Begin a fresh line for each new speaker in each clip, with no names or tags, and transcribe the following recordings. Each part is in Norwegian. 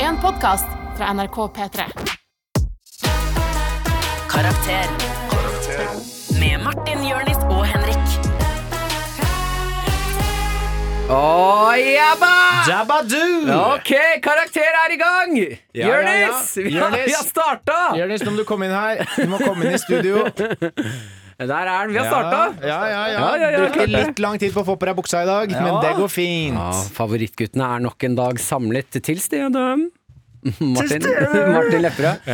en podkast fra NRK P3.
Karakter. Med Martin, Jørnis og Henrik.
Å, jabba!
Dabadoo!
Ok, karakter er i gang!
Ja,
Jonis,
ja, ja.
vi har-
Jonis.
vi har starta!
Jonis, nå må du komme inn her. Du må komme inn i studio.
Der er den, vi har starta!
Ja, ja, ja.
Ja, ja, ja,
Brukte
klart det.
litt lang tid på å få på deg buksa i dag, men det går fint.
Ja, favorittguttene er nok en dag samlet til stede. Martin, Martin Lepperød.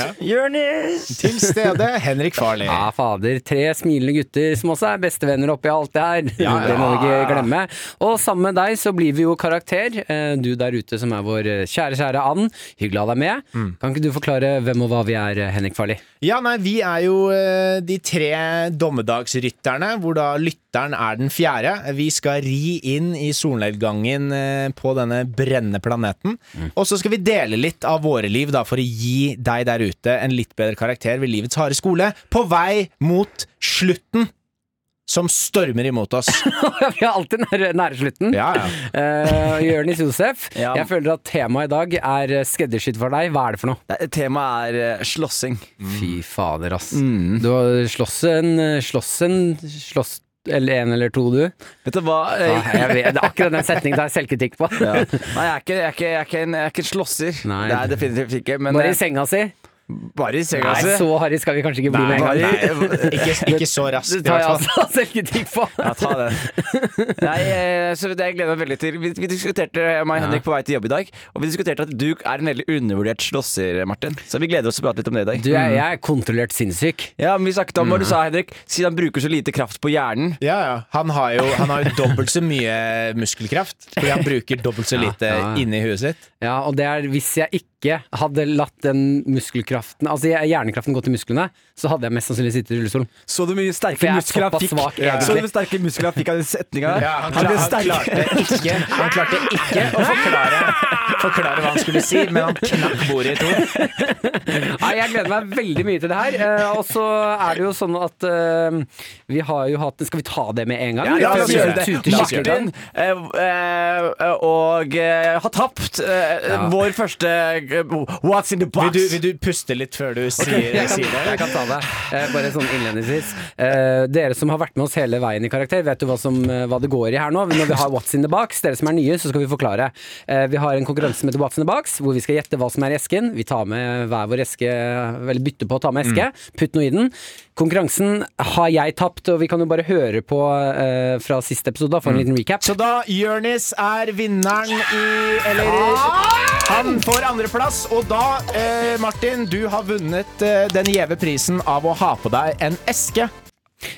Til stede Henrik Farley.
Ja, fader. Tre smilende gutter som også er bestevenner oppi alt det her.
Ja,
Det må vi
ja.
ikke glemme. Og sammen med deg så blir vi jo karakter. Eh, Du der ute som er vår eh, kjære, kjære and. Hyggelig å ha deg med. Kan ikke du forklare hvem og hva vi er, eh, Henrik Farli?
Ja, nei, vi er jo eh, de tre dommedagsrytterne, hvor da lytteren er den fjerde. Vi skal ri inn i solnedgangen eh, på denne brennende planeten.
Mm.
Og så skal vi dele litt av våre liv, da, for å gi deg der ute en litt bedre karakter ved livets harde skole, på vei mot slutten, som stormer imot oss.
vi er alltid nære, nære slutten.
Ja, ja.
Uh, Jørnis Josef,
Ja.
jeg føler at temaet i dag er eh, skreddersydd for deg. Hva er det for noe?
Nei, Temaet er eh, slåssing.
Fy fader, ass. Du har slåss en eh, Slåss en slåss eller en eller to, du.
Vet du hva?
Ja,
Jeg,
jeg vet, det er akkurat den setningen tar jeg selvkritikk på.
ja. Nei, jeg er ikke, jeg er ikke, jeg er ikke, en, jeg er ikke en slåsser.
Nei.
Det er jeg definitivt ikke. Men
Bare i
eh,
senga si.
bare i senga.
Nei,
altså.
så harry skal vi kanskje ikke bli med en
Nei,
gang.
Nei, ikke, ikke så raskt,
Det
i
tar
hvert
jeg
fall.
altså selvkritikk på.
Ja, ta den. Nei, eh, så det jeg gleder meg veldig til. Vi, vi diskuterte jeg og Henrik på vei til jobb i dag, og vi diskuterte at du er en veldig undervurdert slåsser, Martin. Så vi gleder oss til å prate litt om det i dag.
Du, jeg, jeg er kontrollert sinnssyk.
Ja, men vi snakket om hva
Mm.
du sa, Henrik. Siden han bruker så lite kraft på hjernen.
Ja, ja. Han har jo, han har jo dobbelt så mye muskelkraft, fordi han bruker dobbelt så lite
ja, ja.
inni huet sitt.
Ja, og det er hvis jeg ikke hadde latt den muskelkraften, altså jeg- hjernekraften gå til musklene, så hadde jeg mest sannsynlig sittet i rullestolen.
Så du mye
For
sterke
jeg er muskler han såpass fikk- svak, egentlig. så du hvor
sterke muskler han fikk av den setninga
Ja, han, klar, han, klarte ikke, han klarte ikke å forklare, forklare hva han skulle si, men han knakk bordet i to.
Nei, jeg gleder meg veldig mye til det her. Eh, og så er det jo sånn at eh, vi har jo hatt Skal vi ta det med en gang?
Ja, la oss
Vi
gjøre det.
tuter skikkelig.
Martin eh, eh, og eh, har tapt eh,
Ja.
vår første eh, What's in the
Vil
box?
du, vil du puste litt før du sier,
Jeg kan,
sier
jeg
det?
kan ta det. Eh, bare sånn innledningsvis. Eh, dere som har vært med oss hele veien i karakter, vet jo hva, som, eh, hva det går i her nå. Når vi har What's in the box, dere som er nye, så skal vi forklare. Eh, vi har en konkurranse som heter What's in the box, hvor vi skal gjette hva som er i esken. Vi tar med hver vår eske, eller bytter på å ta med eske.
Mm.
Putt noe i den. Konkurransen har jeg tapt, og vi kan jo bare høre på eh, fra siste episode, da, for en liten recap.
Mm. Så da, Jørnis er vinneren i Eller han får andreplass, og da, eh, Martin, du har vunnet eh, den gjeve prisen av å ha på deg en eske.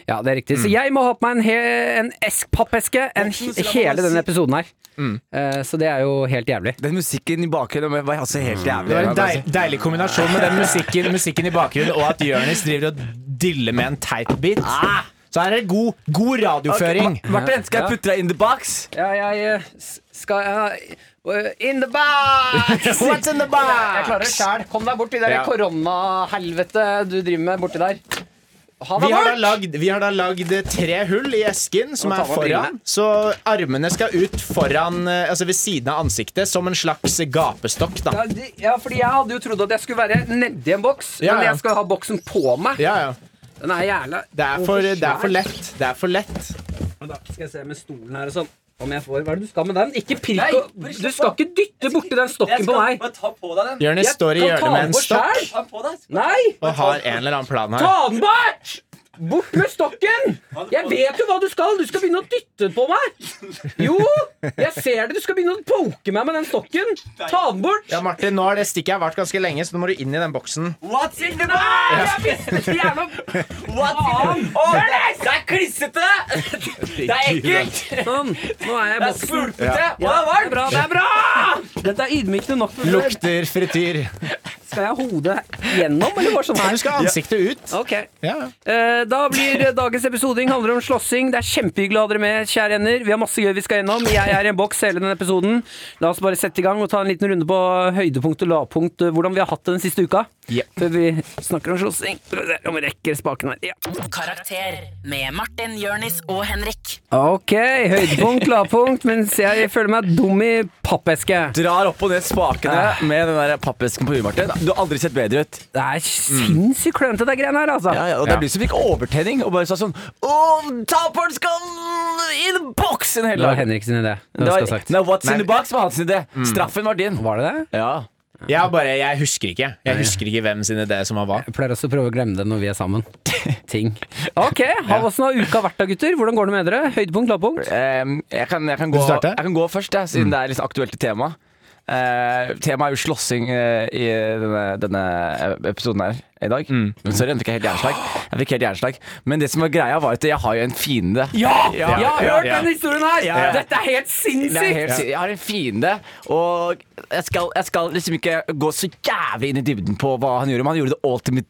Ja, det er riktig.
Mm.
Så jeg må ha på meg en, he en esk pappeske en, he- hele denne episoden her.
Mm.
Eh, så det er jo helt jævlig.
Den musikken i bakgrunnen var altså helt jævlig.
Det var en deil, deilig kombinasjon med den musikken, musikken i bakgrunnen og at Jonis driver og diller med en teit bit. Så her er det god, god radioføring.
Ok, Ma- Martin, skal
Ja.
jeg putte deg in the box?
Ja, jeg eh, s- skal eh, In the box!
What's in the box?
Jeg klarer det sjæl. Kom deg bort i det
Ja.
koronahelvete du driver med borti der. Ha
Vi
deg
har, da
bort!
lagd, vi har da lagd tre hull i esken som
Og ta
er
bort
foran. Så armene skal ut foran, eh, altså ved siden av ansiktet, som en slags gapestokk. da
Ja, de- ja, fordi jeg hadde jo trodd at jeg skulle være nedi en boks,
Ja,
men
ja.
jeg skal ha boksen på meg.
Ja, ja.
Den er jævla
Det er, for,
Å,
det er for lett. Det er for lett.
Men da skal jeg se med stolen her og sånn. Om jeg får, Hva er det du skal med den? Ikke pirk og Du skal ikke dytte borti den stokken på meg.
ta på deg den.
Jonis står i
kan ta
hjørnet med
den
en
bort
stokk
selv. Nei!
og har en eller annen plan her.
Ta den bort! Bort med stokken! Jeg vet jo hva du skal! Du skal begynne å dytte på meg! Jo! Jeg ser det! Du skal begynne å poke meg med den stokken! Ta den bort!
Ja, Martin, nå har det stikket her vært ganske lenge, så nå må du inn i den boksen.
What's in the
Nei,
box?
jeg visste ikke jævla
Faen! Åh, det er- det er klissete! Det er ekkelt!
Sånn, nå er jeg i
Det er
boksen.
svulpete! Og det er
Det er
varmt!
bra, det er bra! Dette er ydmykende nok. for meg.
Lukter frityr.
Skal jeg ha hodet gjennom, eller bare sånn
Nei,
her?
du skal ha ansiktet ut.
Ok.
Ja, ja.
Eh, Da blir eh, dagens episoding handler om slåssing. Det er kjempehyggelig å ha dere med, kjære hender. Vi har masse gøy vi skal gjennom. Jeg er i en boks hele denne episoden. La oss bare sette i gang og ta en liten runde på høydepunkt og lavpunkt, eh, hvordan vi har hatt det den siste uka.
Ja.
Før vi snakker om slåssing. Skal vi se Om vi rekker spaken her. Ja.
Karakter med Martin, Jørnis og Henrik.
Ok, høydepunkt, lavpunkt, mens jeg føler meg dum i pappeske.
Drar opp og ned spakene med den der pappesken på huet, Martin. Du har aldri sett bedre ut.
Det er sinnssykt klønete, det greiene her, altså.
Ja, ja, og Det er du som fikk overtenning og bare sa sånn Å, taperen skal inn i boksen
Det
hele
var
dagen!
Henrik sin idé. Det skal
Det var,
ha sagt.
nei, Mm. what's in
Nei.
the box var hans idé. Straffen var din.
Var det det?
Ja.
Jeg, har bare, jeg husker ikke. Jeg husker ikke hvem sin idé som var hva.
Jeg pleier også å prøve å glemme det når vi er sammen. Ting. Ok, ha åssen har uka vært da, gutter? Hvordan går det med dere? Høydepunkt, lavpunkt?
Ehm, jeg, kan, jeg, kan
Vil
gå,
du starte? Mm.
jeg kan gå først, jeg, siden det er litt aktuelt i temaet. Eh, temaet er jo slåssing eh, i denne, denne episoden her i dag.
Mm.
Sorry, jeg fikk helt hjerneslag. Jeg fikk helt hjerneslag. Men det som var greia, var at jeg har jo en fiende.
Jeg har
Ja,
hørt
ja.
denne historien her!
Ja.
Dette er helt
Det er
sinnssykt!
helt, si- jeg har en fiende, og jeg skal, jeg skal liksom ikke gå så jævlig inn i dybden på hva han gjorde, men han gjorde the ultimate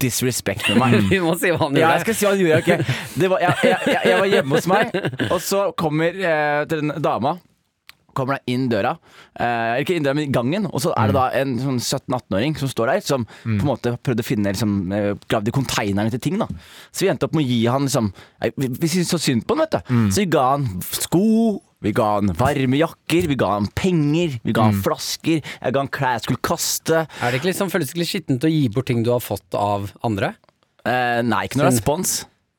disrespect med meg.
Vi må si hva han
Ja,
gjorde.
jeg skal si hva han gjorde. ok. Det var, jeg, jeg, jeg, jeg var hjemme hos meg, og så kommer eh, den dama. Kommer da inn døra, eh, ikke inn døra, men i gangen, og så er det da en sånn 17-18-åring som står der, som på en måte prøvde å finne liksom, eh, Gravde i konteinerne til ting. da Så vi endte opp med å gi han liksom eh, Vi, vi syntes så synd på han, vet du. Så vi ga han sko. Vi ga han varme jakker, vi ga han penger, vi ga han flasker, jeg ga han klær jeg skulle kaste.
Er det ikke liksom, føles det ikke litt skittent å gi bort ting du har fått av andre?
Eh, nei, ikke noe
Synd.
respons.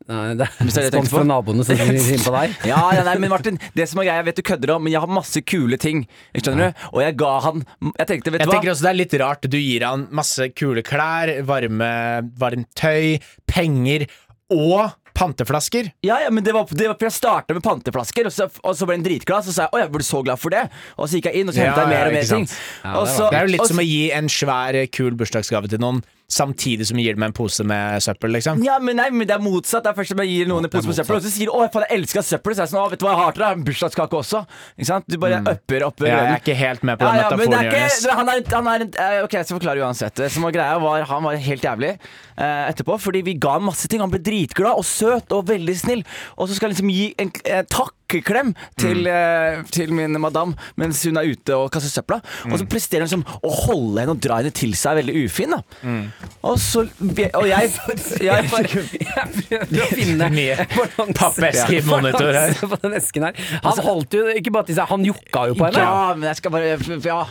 Nei, det er
Hvis det er det jeg
respons
tenker på.
fra naboene som rimer på deg.
Ja, ja, nei, men Martin, det som er greia, jeg vet du kødder om, men jeg har masse kule ting. Ikke Skjønner du? Og jeg ga han Jeg tenkte, vet
Jeg
du hva?
tenker også Det er litt rart. Du gir han masse kule klær, varme, varmt tøy, penger og panteflasker.
Ja, ja, men det var, det var for Jeg starta med panteflasker, og så, og så ble den dritglad. Så sa jeg å, jeg ble så glad for det. Og så gikk jeg inn, og så
Ja,
henta jeg
ja,
mer og
ikke
mer ting.
sant.
Ja, det
Og
var-
så-
Det er jo
og
litt
så-
som å gi en svær, kul bursdagsgave til noen, samtidig som du gir dem en pose med søppel, liksom.
ja, men nei, men Det er motsatt. Det er først som jeg gir noen en pose med søppel, og så sier de 'Å, faen, jeg elsker søppel'. Så er jeg sånn, å, vet du hva jeg har til deg? En bursdagskake også. Ikke sant? Du bare upper, upper.
Jeg
ølen.
Mm. er ikke helt med på
Ja,
den
ja, men det
metaforen,
er ikke,
Jonis.
det- han er, han er, eh, ok, jeg skal forklare uansett. Det som var greia var, Han var helt jævlig eh, etterpå, fordi vi ga han masse ting. Han ble dritglad og søt og veldig snill. Og så skal han liksom gi en eh, takkeklem til,
Mm.
eh, til min madam mens hun er ute og kaster søpla. Og
Mm.
så presterer han som å holde henne og dra henne til seg veldig ufin. da
Mm.
Og så Og jeg,
Jeg bare-
jeg
jeg prøver å finne
Mye
balanse-
pappeske i monitor her.
balanse på den esken her. Han holdt jo ikke bare til seg, han jokka jo på henne.
Ja, men jeg skal bare Ja.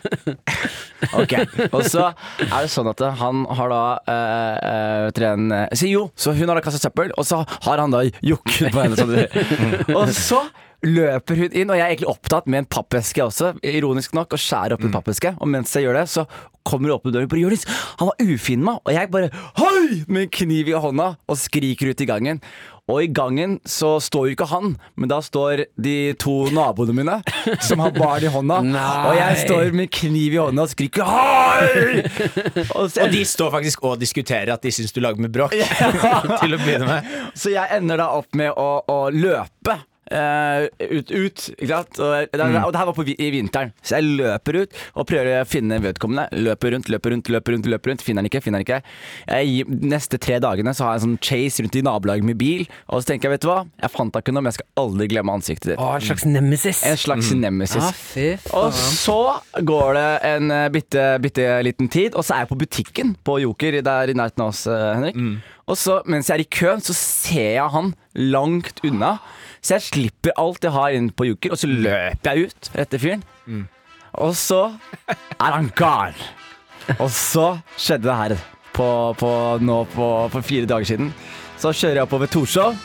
Ok. Og så er det sånn at han har da eh, eh, vet dere en, eh, Så jo, så hun har da kastet søppel, og så har han da jokket på henne. Sånn. det- Og så løper hun inn, og jeg er egentlig opptatt med en pappeske også, ironisk nok, og skjærer opp en pappeske. Og mens jeg gjør det, så kommer hun opp med døren og bare Jonis, han var ufin med meg, og jeg bare Hei! med en kniv i hånda og skriker ut i gangen. Og i gangen så står jo ikke han, men da står de to naboene mine som har barn i hånda.
Nei.
Og jeg står med kniv i hånda og skriker hei! Og så,
Og de står faktisk og diskuterer at de syns du lager med bråk. Til å begynne med.
så jeg ender da opp med å, å løpe. eh, ut, ut, ikke sant? Og, det, og det her var på, vi- i vinteren, så jeg løper ut og prøver å finne vedkommende. Løper rundt, løper rundt, løper rundt. løper rundt Finner den ikke. finner den ikke jeg, gir- Neste tre dagene så har jeg en sånn chase rundt i nabolaget med bil. Og så tenker jeg, vet du hva, jeg fant deg ikke nå, men jeg skal aldri glemme ansiktet ditt.
Å, en slags nemesis.
En slags nemesis.
Ja, fy faen.
Og så går det en eh, bitte, bitte liten tid, og så er jeg på butikken på Joker der i nærheten av oss, eh, Henrik. Og så, mens jeg er i køen, så ser jeg han langt unna. Så jeg slipper alt jeg har inn på Joker, og så løper jeg ut etter fyren. Og så er han gal. Og så skjedde det her på, på, nå på, for fire dager siden. Så kjører jeg oppover Torshov.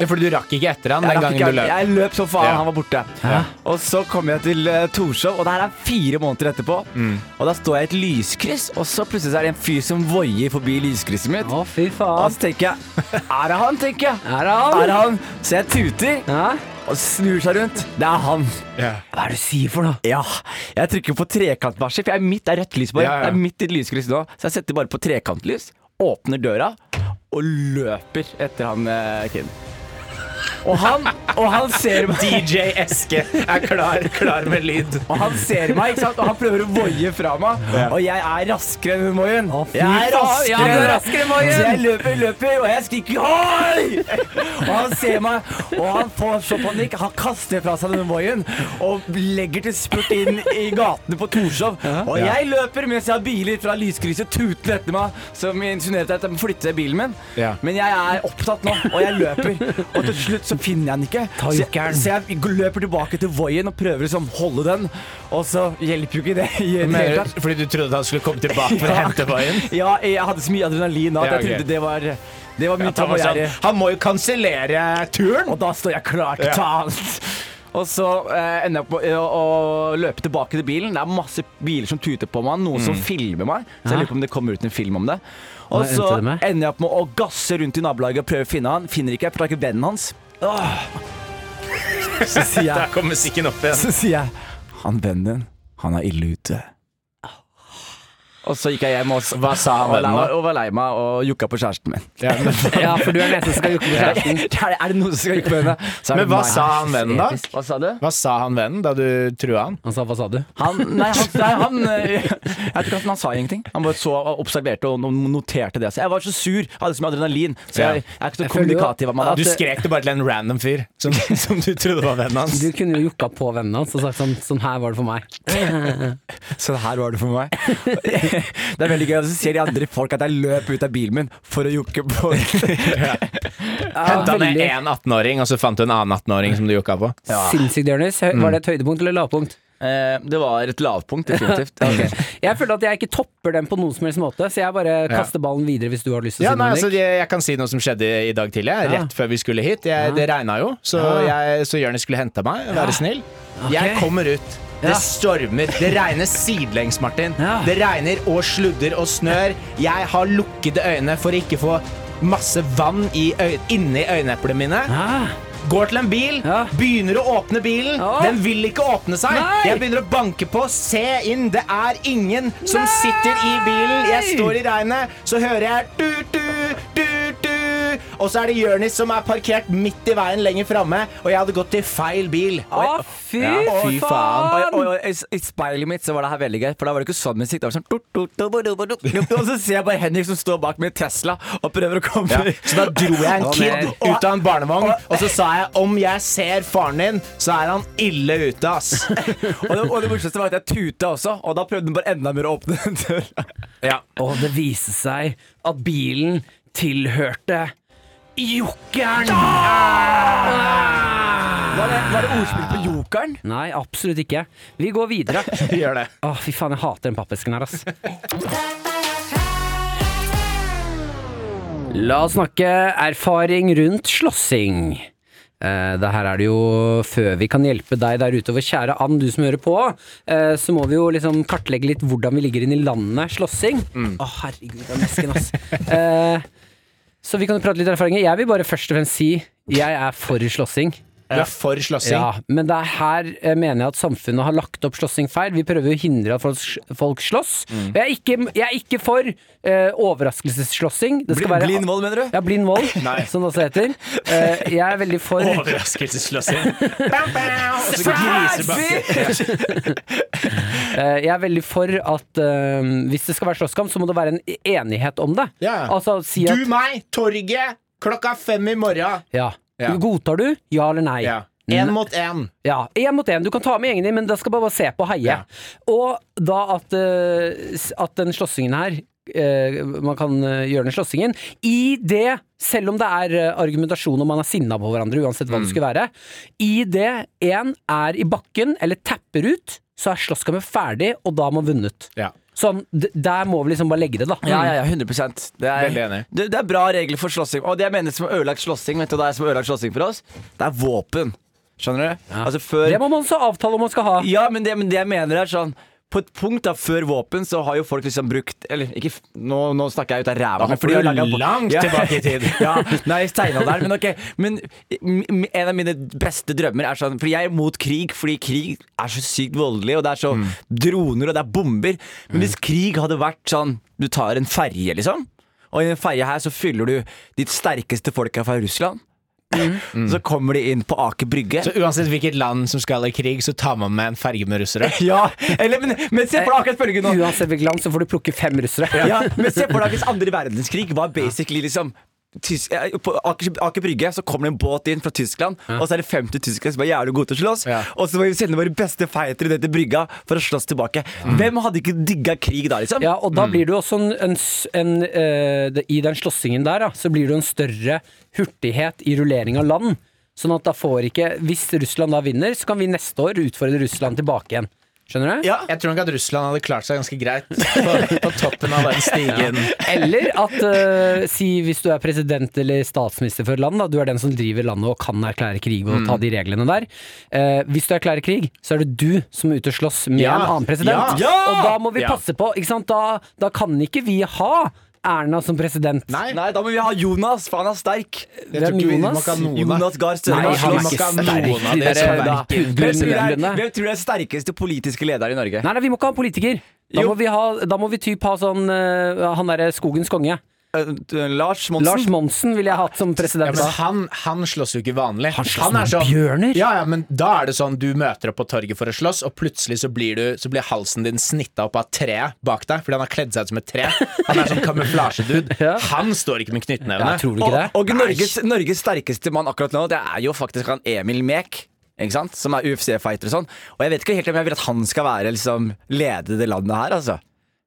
Ja, Fordi du rakk ikke etter han
Jeg
den
rakk
gangen
ikke-
du løp.
Jeg løp som faen,
Ja.
han var borte. Og så kom jeg til eh, Torshov, og det her er fire måneder etterpå.
Mm.
Og da står jeg i et lyskryss, og så plutselig så er det en fyr som voier forbi lyskrysset mitt.
Å, fy
Og
faen.
så tenker jeg Er det han, tenker jeg.
Er det han?
Er det han? Så jeg tuter
Ja?
og snur seg rundt. Det er han.
Ja.
Hva er det du sier for noe?
Ja. Jeg trykker på trekantvarsel, for jeg er midt, det er rødt lys bare.
Ja, ja.
Jeg er midt i et lyskryss nå, så jeg setter bare på trekantlys, åpner døra og løper etter han eh, kiden. Og han Og han ser meg,
DJ Eske er klar, klar med lyd.
og han ser meg ikke sant? og han prøver å voie fra meg. Og jeg er raskere enn hun Moien. Jeg er
faen, ja,
raskere,
du er raskere, Moien.
Så jeg løper, løper, og jeg skriker hoi! Og han ser meg, og han får så panikk. Han kaster fra seg denne Moien og legger til spurt inn i gatene på Torshov. Og
Ja.
jeg løper mens jeg har biler fra lyskrysset tutende etter meg, som insinuerte at jeg må flytte bilen min.
Ja.
Men jeg er opptatt nå, og jeg løper. Og til slutt så finner jeg den ikke.
Ta jokeren.
Så, jeg, så jeg løper tilbake til Voien og prøver liksom holde den, og så hjelper jo ikke det. i det hele tatt.
fordi du trodde han skulle komme tilbake for å hente veien?
Ja, jeg hadde så mye adrenalin da at
Ja,
jeg
ok.
trodde det var, det var
At
mye
han,
tam
var
og
sånn,
gjerrig.
han må jo kansellere turen!
Og da står jeg klar til
Ja.
å ta alt. Og så eh, ender jeg på å, å løpe tilbake til bilen. Det er masse biler som tuter på meg, noen
Mm.
som filmer meg. Så jeg lurer på om det kommer ut en film om det. Og
Hva endte
så
det med?
ender jeg opp med å gasse rundt i nabolaget og prøve å finne han. Finner ikke, jeg får tak i vennen hans. Åh. Så sier jeg
Der kom musikken opp igjen.
Så sier jeg Han vennen din, han er ille ute. Og så gikk jeg hjem og,
Hva sa han
og,
vennen da?
og, og var lei meg og jukka på kjæresten min.
Ja, men,
Ja, for du er den eneste som skal jukke på kjæresten.
er, det noen som skal jukke på henne? Så er
men
det
hva
meg.
sa han vennen, da?
Hva sa du?
Hva sa han vennen da du trua han?
Han sa hva sa du?
Han, nei, han, nei, han eh, Jeg vet ikke hvordan han sa ingenting. Han bare så og observerte og no- noterte det. Så jeg var så sur. Jeg hadde så mye adrenalin. Så jeg, jeg er ikke så
føler jo
kommunikativ av meg.
Du
at-
skrek det bare til en random fyr som, som du trodde var vennen hans.
Du kunne jo jukka på vennen hans og sagt sånn, sånn her var det for meg.
Så her var det for meg. det er veldig gøy. Og så ser de andre folk at jeg løp ut av bilen min for å jukke på
Henta ned
veldig.
én 18-åring, og så fant du en annen 18-åring som du jokka på.
Sinnssykt, Jonis. Hø- Var det et høydepunkt eller lavpunkt?
Eh, Det var et lavpunkt, definitivt.
Ok. Jeg føler at jeg ikke topper den på noen som helst måte, så jeg bare kaster ballen videre hvis du har lyst til å
Ja,
si
nei,
noe.
altså,
Henrik.
jeg, jeg kan si noe som skjedde i dag tidlig, jeg,
Ja.
rett før vi skulle hit. Jeg, Det regna jo, så, jeg, så Jonis skulle hente meg, være snill. Jeg kommer ut. Det
Ja.
stormer. Det regner sidelengs, Martin.
Ja.
Det regner og sludder og snør. Jeg har lukkede øyne for å ikke få masse vann i øy inni øyeneplene mine.
Ah,
Går til en bil,
Ja.
begynner å åpne bilen.
Ja.
Den vil ikke åpne seg.
Nei.
Jeg begynner å banke på, se inn. Det er ingen som sitter i bilen. Jeg står i regnet, så hører jeg du, du, du, du. Og så er det Jørnis som er parkert midt i veien lenger framme, og jeg hadde gått til feil bil. Og jeg-
Å, fy
Ja, fy
Og,
faen!
jeg- og, jeg- i speilet mitt så var det her veldig gøy, for da var det ikke sånn musikk. Det var sånn tut, tut, tut, tut, tut, tut. Og så ser jeg bare Henrik som står bak med Tesla og prøver å komme
Ja, så da dro jeg en
Å,
kid
nei.
ut av en barnevogn,
Ah.
og så sa jeg om jeg ser faren din, så er han ille ute, ass.
Og det, og det morsomste var at jeg tuta også, og da prøvde den bare enda mer å åpne den døra.
Og det viste seg at bilen tilhørte jokeren! Ah!
Var det, var det ordspill på jokeren?
Nei, absolutt ikke. Vi går videre.
Gjør det.
Å, fy faen, jeg hater den pappesken her, ass. La oss snakke erfaring rundt slåssing. Eh, det her er det jo Før vi kan hjelpe deg der ute, vår kjære and, du som hører på, eh, så må vi jo liksom kartlegge litt hvordan vi ligger inn i landet slåssing. Å, herregud, den esken, ass. eh, så vi kan jo prate litt erfaringer. Jeg vil bare først og fremst si jeg er for slåssing.
Du er for slåssing.
Ja, men det er her eh, mener jeg at samfunnet har lagt opp slåssing feil. Vi prøver å hindre at folk, folk slåss.
Mm.
Og Jeg, er ikke, jeg er ikke for eh, overraskelsesslåssing. Det skal være-
Blind vold, mener du?
Ja, blind vold, som det også heter. Eh, jeg er veldig for
Overraskelsesslåssing. Bam, bam, og så grisebakke.
Eh, Jeg er veldig for at eh, hvis det skal være slåsskamp, så må det være en enighet om det.
Ja.
Altså si at
Du, meg, torget, klokka fem i morgen.
ja.
Ja.
Godtar du? Ja eller nei?
Ja. Én mot én.
Ja, én mot én. Du kan ta med gjengen din, men da skal bare, bare se på og heie.
Ja.
Og da at, eh, s- at den slåssingen her eh, man kan eh, gjøre den slåssingen. I det, selv om det er eh, argumentasjon og man er sinna på hverandre, uansett hva
Mm.
det skulle være, i det én er i bakken eller tapper ut, så er slåsskampen ferdig, og da har man vunnet.
Ja.
Sånn, d- der må vi liksom bare legge det, da.
Ja, ja, ja, 100 det er,
Veldig enig.
Det, det er bra regler for slåssing. Og det jeg mener som er ødelagt slåssing, vet du, hva det er som er ødelagt slåssing for oss, det er våpen. Skjønner du? Altså før
Mm. Det må man også avtale om man skal ha.
Ja, men det, men det jeg mener er sånn på et punkt da, Før våpen så har jo folk liksom brukt Eller ikke, f- nå, nå snakker jeg ut av ræva men
hopper
fordi
du
jeg har laget-
langt tilbake i tid.
ja, nei, steinalderen, men ok Men m- m- en av mine beste drømmer er sånn Fordi jeg er mot krig, fordi krig er så sykt voldelig Og det er så
Mm.
droner og det er bomber Men hvis krig hadde vært sånn Du tar en ferie liksom Og i en ferie her så fyller du ditt sterkeste folka fra Russland Så kommer de inn på Aker Brygge.
Mm. Så uansett hvilket land som skal i krig, så tar man med en ferge med russere.
Ja, eller, men, men se for deg akkurat følgende nå.
Uansett hvilket land, så får du plukke fem russere.
Ja, men se for deg hvis andre verdenskrig var basically liksom Tys eh, på Aker, Aker Brygge så kommer det en båt inn fra Tyskland, og så er det 50 tyskere som er jævlig gode til å slåss.
Ja.
Og så må vi sende våre beste fightere ned til brygga for å slåss tilbake. Hvem hadde ikke digga krig da, liksom?
Mm. Ja, og da blir du også en, en, s- en eh, det- I den slåssingen der, da, så blir du en større hurtighet i rullering av land. Sånn at da får ikke Hvis Russland da vinner, så kan vi neste år utfordre Russland tilbake igjen. Skjønner du?
Ja.
Jeg tror nok at Russland hadde klart seg ganske greit på, på toppen av den stigen.
Eller at eh, si hvis du er president eller statsminister for et land, da, du er den som driver landet og kan erklære krig og ta de reglene der. Eh, hvis du erklærer krig, så er det du som er ute og slåss med
Ja.
en annen president.
Ja.
Ja.
Og da må vi
Ja.
passe på, ikke sant? Da, da kan ikke vi ha Erna som president.
Nei, da må vi ha Jonas, for han er sterk.
Jeg tror
Hvem
ikke vi-
Jonas?
man kan noen, da.
Jonas Gahr Støre.
Nei, han
må
er
slåss.
ikke
Slåss. Noen av
sterk.
dere
Dere
som
er verken
er
Hvem tror du er-
gullmedlemmene.
hvem tror du er sterkeste politiske leder i Norge?
Nei, nei, vi må ikke ha en politiker. Da
Jo.
må vi, ha, da må vi typ ha sånn eh, han derre skogens konge.
Eh, Lars Monsen.
Lars Monsen ville jeg hatt som president.
Ja,
da.
men han, han slåss jo ikke vanlig. Han sånn-
slåss med bjørner.
Ja, ja, men da er det sånn du møter opp på torget for å slåss, og plutselig så blir, du, så blir halsen din snitta opp av treet bak deg, fordi han har kledd seg ut som et tre. Han er sånn kamuflasjedude.
Ja.
Han står ikke med knyttnevene.
Ja, tror du ikke det?
Og, og Norges, Norges sterkeste mann akkurat nå, det er jo faktisk han Emil Mek. Ikke sant? Som er UFC-fighter og sånn. Og jeg vet ikke helt om jeg vil at han skal være liksom lede det landet her, altså.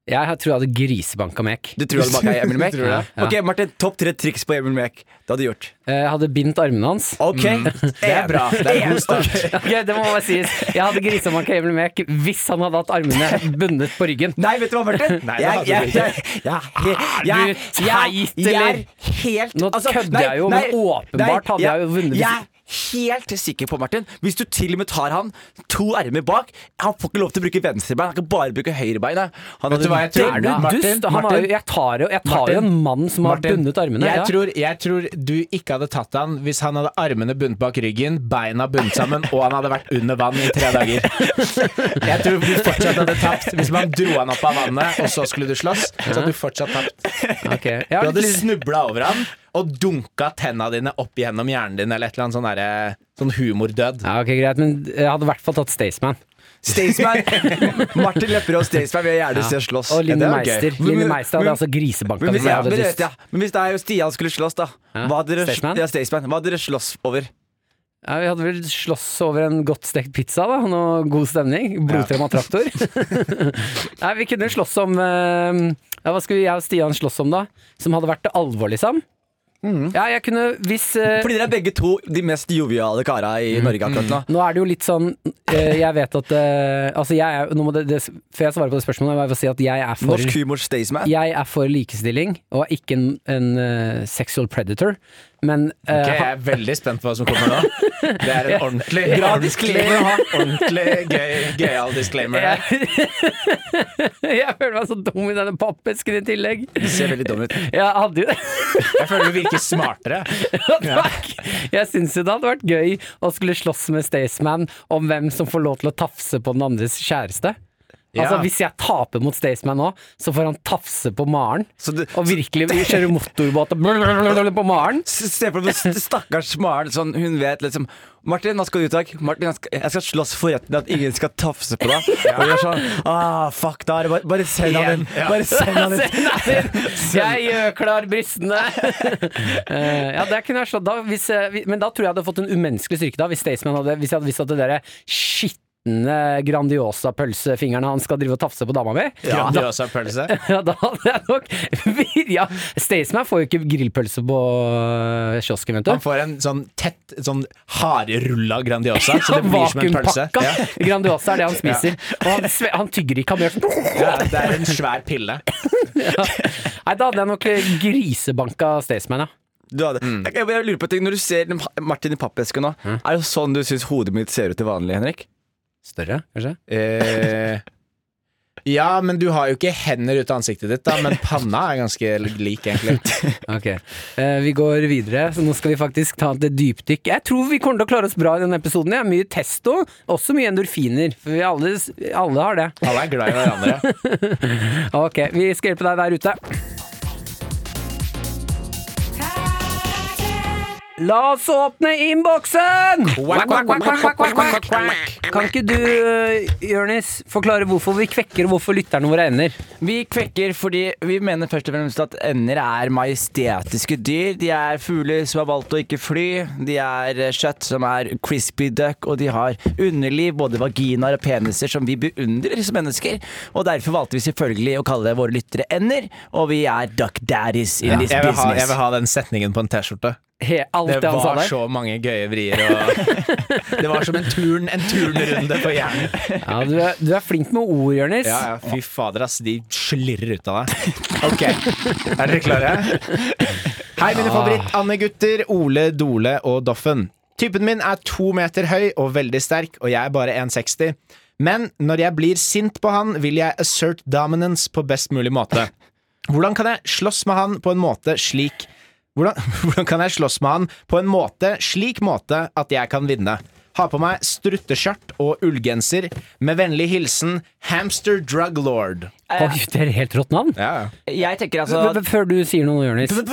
Jeg tror jeg hadde grisebanka Mek.
Du tror han bak er Emil Mek?
Tror det.
Ok, Martin, topp tre triks på Emil Mek. Det hadde du gjort.
Jeg Eh, hadde bindt armene hans.
Ok,
Mm. Det er bra. Det er en god start.
Ok, det må bare sies. Jeg hadde grisebanka Emil Mek hvis han hadde hatt armene bundet på ryggen.
Nei, vet du hva, Martin?
Nei, det
jeg,
hadde
jeg,
du
jeg, jeg, jeg,
du teit, eller?
er helt altså,
Nå kødder jeg jo, men åpenbart hadde jeg jo vunnet hvis-
Jeg er helt sikker på, Martin, hvis du til og med tar han to ermer bak Han får ikke lov til å bruke venstrebein, han kan bare bruke høyrebeinet. Han
Vet du hva jeg tror?
Er
vunnet.
du
Martin,
dust? Han var jo,
Martin.
jeg tar jo, jeg tar jo en mann som har
Martin,
bundet armene.
Jeg,
ja.
tror, jeg tror du ikke hadde tatt han hvis han hadde armene bundet bak ryggen, beina bundet sammen, og han hadde vært under vann i tre dager. Jeg tror du fortsatt hadde tapt hvis man dro han opp av vannet, og så skulle du slåss. Så hadde du fortsatt tapt.
Ok, jeg
Du
har
hadde
litt lyst-
snubla over han og dunka tenna dine opp gjennom hjernen din, eller et eller annet sånn derre Sånn humordød.
ja, ok, greit, men jeg hadde i hvert fall tatt Staysman.
Staysman. Martin Lepperød og Staysman vil jeg gjerne se slåss.
Og Linni
det er gøy.
Meister. Linni
Men-
Meister hadde
men-
altså grisebanka
Men hvis,
meg.
ja,
Jeg
men,
hadde
det
dust.
vet jeg. men hvis det er jo Stian skulle slåss, da hva hadde dere,
Staysman?
Ja, Staysman. Hva hadde dere slåss over?
Ja, vi hadde vel slåss over en godt stekt pizza, da. Noe god stemning. Blodtrema traktor. Nei, vi kunne slåss om eh, ja, Hva skulle jeg og Stian slåss om, da? Som hadde vært til alvor, liksom? Ja, jeg kunne Hvis eh,
Mm. Fordi dere er begge to de mest joviale kara i Norge akkurat nå.
Nå er det jo litt sånn eh, Jeg vet at eh, Altså, jeg er nå må det, det, Før jeg svarer på det spørsmålet, må jeg bare si at jeg er for
Norsk humors Staysman.
jeg er for likestilling og er ikke en, en eh, sexual predator, men eh,
Ok, jeg er veldig spent på hva som kommer nå. Det er en ordentlig
Bra
ordentlig, ordentlig gøy- gøyal disclaimer. her.
jeg føler meg så dum i denne pappesken i tillegg.
Du ser veldig dum ut.
Jeg hadde jo
Jeg føler du virker smartere.
Takk! Jeg syns jo det hadde vært gøy å skulle slåss med Staysman om hvem som får lov til å tafse på den andres kjæreste. Altså
Ja.
Hvis jeg taper mot Staysman nå, så får han tafse på Maren.
Så du-
Og virkelig kjøre motorbåt og blablabla på Maren.
S- Se på den st- stakkars Maren. Sånn, hun vet liksom Martin, hva skal du i dag? Martin, jeg skal, jeg skal slåss for retten at ingen skal tafse på deg. Og du er sånn ah, Fuck, da er det bare, bare send han inn.
Ja.
Bare send han inn.
Jeg gjør klar brystene! Eh, ja, det kunne jeg slått da, hvis, jeg- men da tror jeg jeg hadde fått en umenneskelig styrke da, hvis Staysman hadde Hvis jeg hadde visst at det derre skitne Grandiosa-pølsefingrene han skal drive og tafse på dama mi.
Ja.
Da,
Grandiosa pølse.
ja, da hadde jeg nok vir- ja, Staysman får jo ikke grillpølse på øh, kiosken, vet du.
Han får en sånn tett, sånn hardrulla Grandiosa, så det blir som en pølse.
Vakuumpakka
Ja.
Grandiosa er det han spiser. Og han, sve- han tygger ikke, han gjør sånn
Ja, det er en svær pille.
Nei, da hadde jeg nok eh, grisebanka Staysman, ja.
Du hadde, jeg, jeg lurer på en ting Når du ser den pa- Martin i pappesken nå, er det sånn du syns hodet mitt ser ut til vanlig, Henrik?
Større, kanskje?
Eh, ja, men du har jo ikke hender ut av ansiktet ditt, da, men panna er ganske lik, egentlig.
Ok, eh, vi går videre, så nå skal vi faktisk ta et dypdykk. Jeg tror vi kommer til å klare oss bra i denne episoden. Jeg. Mye testo, også mye endorfiner, for vi alle, alle har det.
Alle er glad i hverandre.
Ok, vi skal hjelpe deg der ute. La oss åpne innboksen!
Quack, quack, quack, quack, quack, quack, quack.
Kan ikke du, Jørnis, forklare hvorfor vi kvekker, og hvorfor lytterne våre ender?
Vi kvekker fordi vi mener først og fremst at ender er majestetiske dyr. De er fugler som har valgt å ikke fly. De er eh, kjøtt som er crispy duck, og de har underliv, både vaginaer og peniser, som vi beundrer som mennesker. Og derfor valgte vi selvfølgelig å kalle våre lyttere ender, og vi er duck daddies in
Jeg
this
vil, ha, jeg
business.
vil ha den setningen på en T-skjorte.
He, alt
Det
det, han sa
var
der?
så mange gøye vrier. Og det var som en, turn, en turnrunde på hjernen.
Ja, du, er, du er flink med ord, Jørnis.
Ja, ja, Fy fader, ass. De slirrer ut av deg. Ok, er dere klare? Hei, mine favoritt-Anne-gutter. Ole, Dole og Doffen. Typen min er to meter høy og veldig sterk, og jeg er bare 1,60. Men når jeg blir sint på han, vil jeg assert dominance på best mulig måte. Hvordan kan jeg slåss med han på en måte slik hvordan, hvordan kan jeg slåss med han på en måte slik måte at jeg kan vinne? Ha på meg strutteskjørt og ullgenser. Med vennlig hilsen Hamster Drug Lord.
Oi, det er et helt rått navn.
Ja.
Jeg tenker altså
Men- men Før du sier noe, Jørnis, så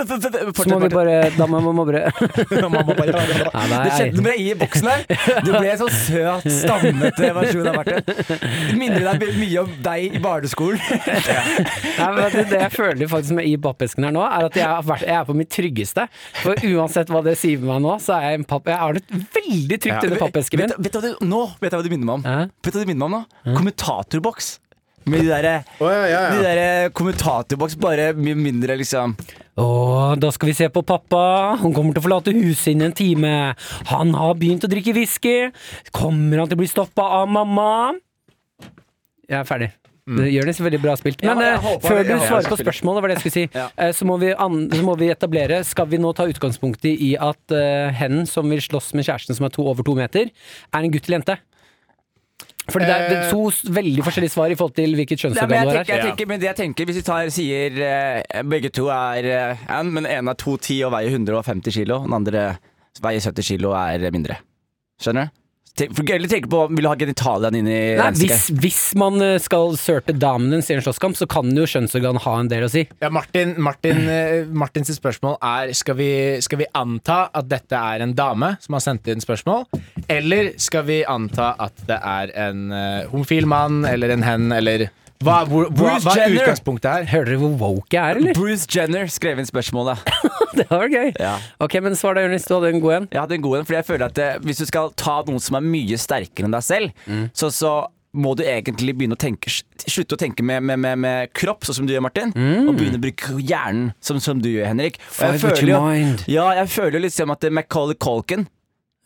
må vi bare Da må må bare Ja,
Det
nei.
skjedde med i boksen her. Du ble en sånn søt, stammete versjon av Martin. Minner deg veldig mye om deg i barneskolen.
Nei, men vet du, det jeg føler faktisk med i pappesken her nå, er at jeg, har vært, jeg er på mitt tryggeste. For uansett hva dere sier med meg nå, så er jeg en papp... Jeg har det veldig trygt under pappesken min.
Vet, vet, du hva du, nå vet jeg hva du minner meg om.
Hæ?
Vet du hva du minner meg om nå? Kommentatorboks. Med de derre
ja, ja, ja.
de der kommentatorboks, bare mye mindre, liksom.
Åh, da skal vi se på pappa. Han kommer til å forlate huset innen en time. Han har begynt å drikke whisky. Kommer han til å bli stoppa av mamma? Jeg er ferdig. Det gjør det så veldig bra spilt. Men
Mm. Ja, jeg
eh,
håper
før
det-
du
jeg håper
svarer
det
på
spiller.
spørsmålet, var det jeg skulle si,
Ja.
eh, så, må vi an så må vi etablere Skal vi nå ta utgangspunkt i at eh, hen som vil slåss med kjæresten som er to over to meter, er en gutt eller jente? Fordi det er, det er to s- veldig forskjellige svar i forhold til hvilket
Nei, Eh. men,
kjønnsorgan
jeg
du
tenker,
er.
jeg tenker, men det jeg tenker, hvis vi tar, sier eh, begge to er eh, en, men en er 2,10 og veier 150 kilo, den andre veier 70 kilo og er mindre. Skjønner du? Tenk- for- Eller tenker på vil du ha genitaliene inn
Nei,
i
hvis,
regnestykket?
hvis man eh, skal sørte dominance i en slåsskamp, så kan jo kjønnsorgan ha en del å si.
Ja, Martin, Martin, eh, Martins spørsmål er skal vi, skal vi anta at dette er en dame som har sendt inn spørsmål, eller skal vi anta at det er en eh, homofil mann eller en hen eller Hva, hvor, hva,
Bruce
hva er
Jenner!
utgangspunktet her?
Hører dere hvor woke jeg er, eller?
Bruce Jenner skrev inn spørsmålet.
Det var gøy.
Ja.
Ok, men svar da, Jonis. Du hadde en god en.
Jeg hadde en god en, fordi jeg føler at eh, hvis du skal ta noen som er mye sterkere enn deg selv,
Mm.
så, så må du egentlig begynne å tenke slutte å tenke med, med, med, med kropp, sånn som du gjør, Martin,
Mm.
og begynne å bruke hjernen, som, som du gjør, Henrik. Og jeg
Fight with
føler
your
jo-
mind.
Ja, jeg føler jo liksom at eh, Macaulay Culkin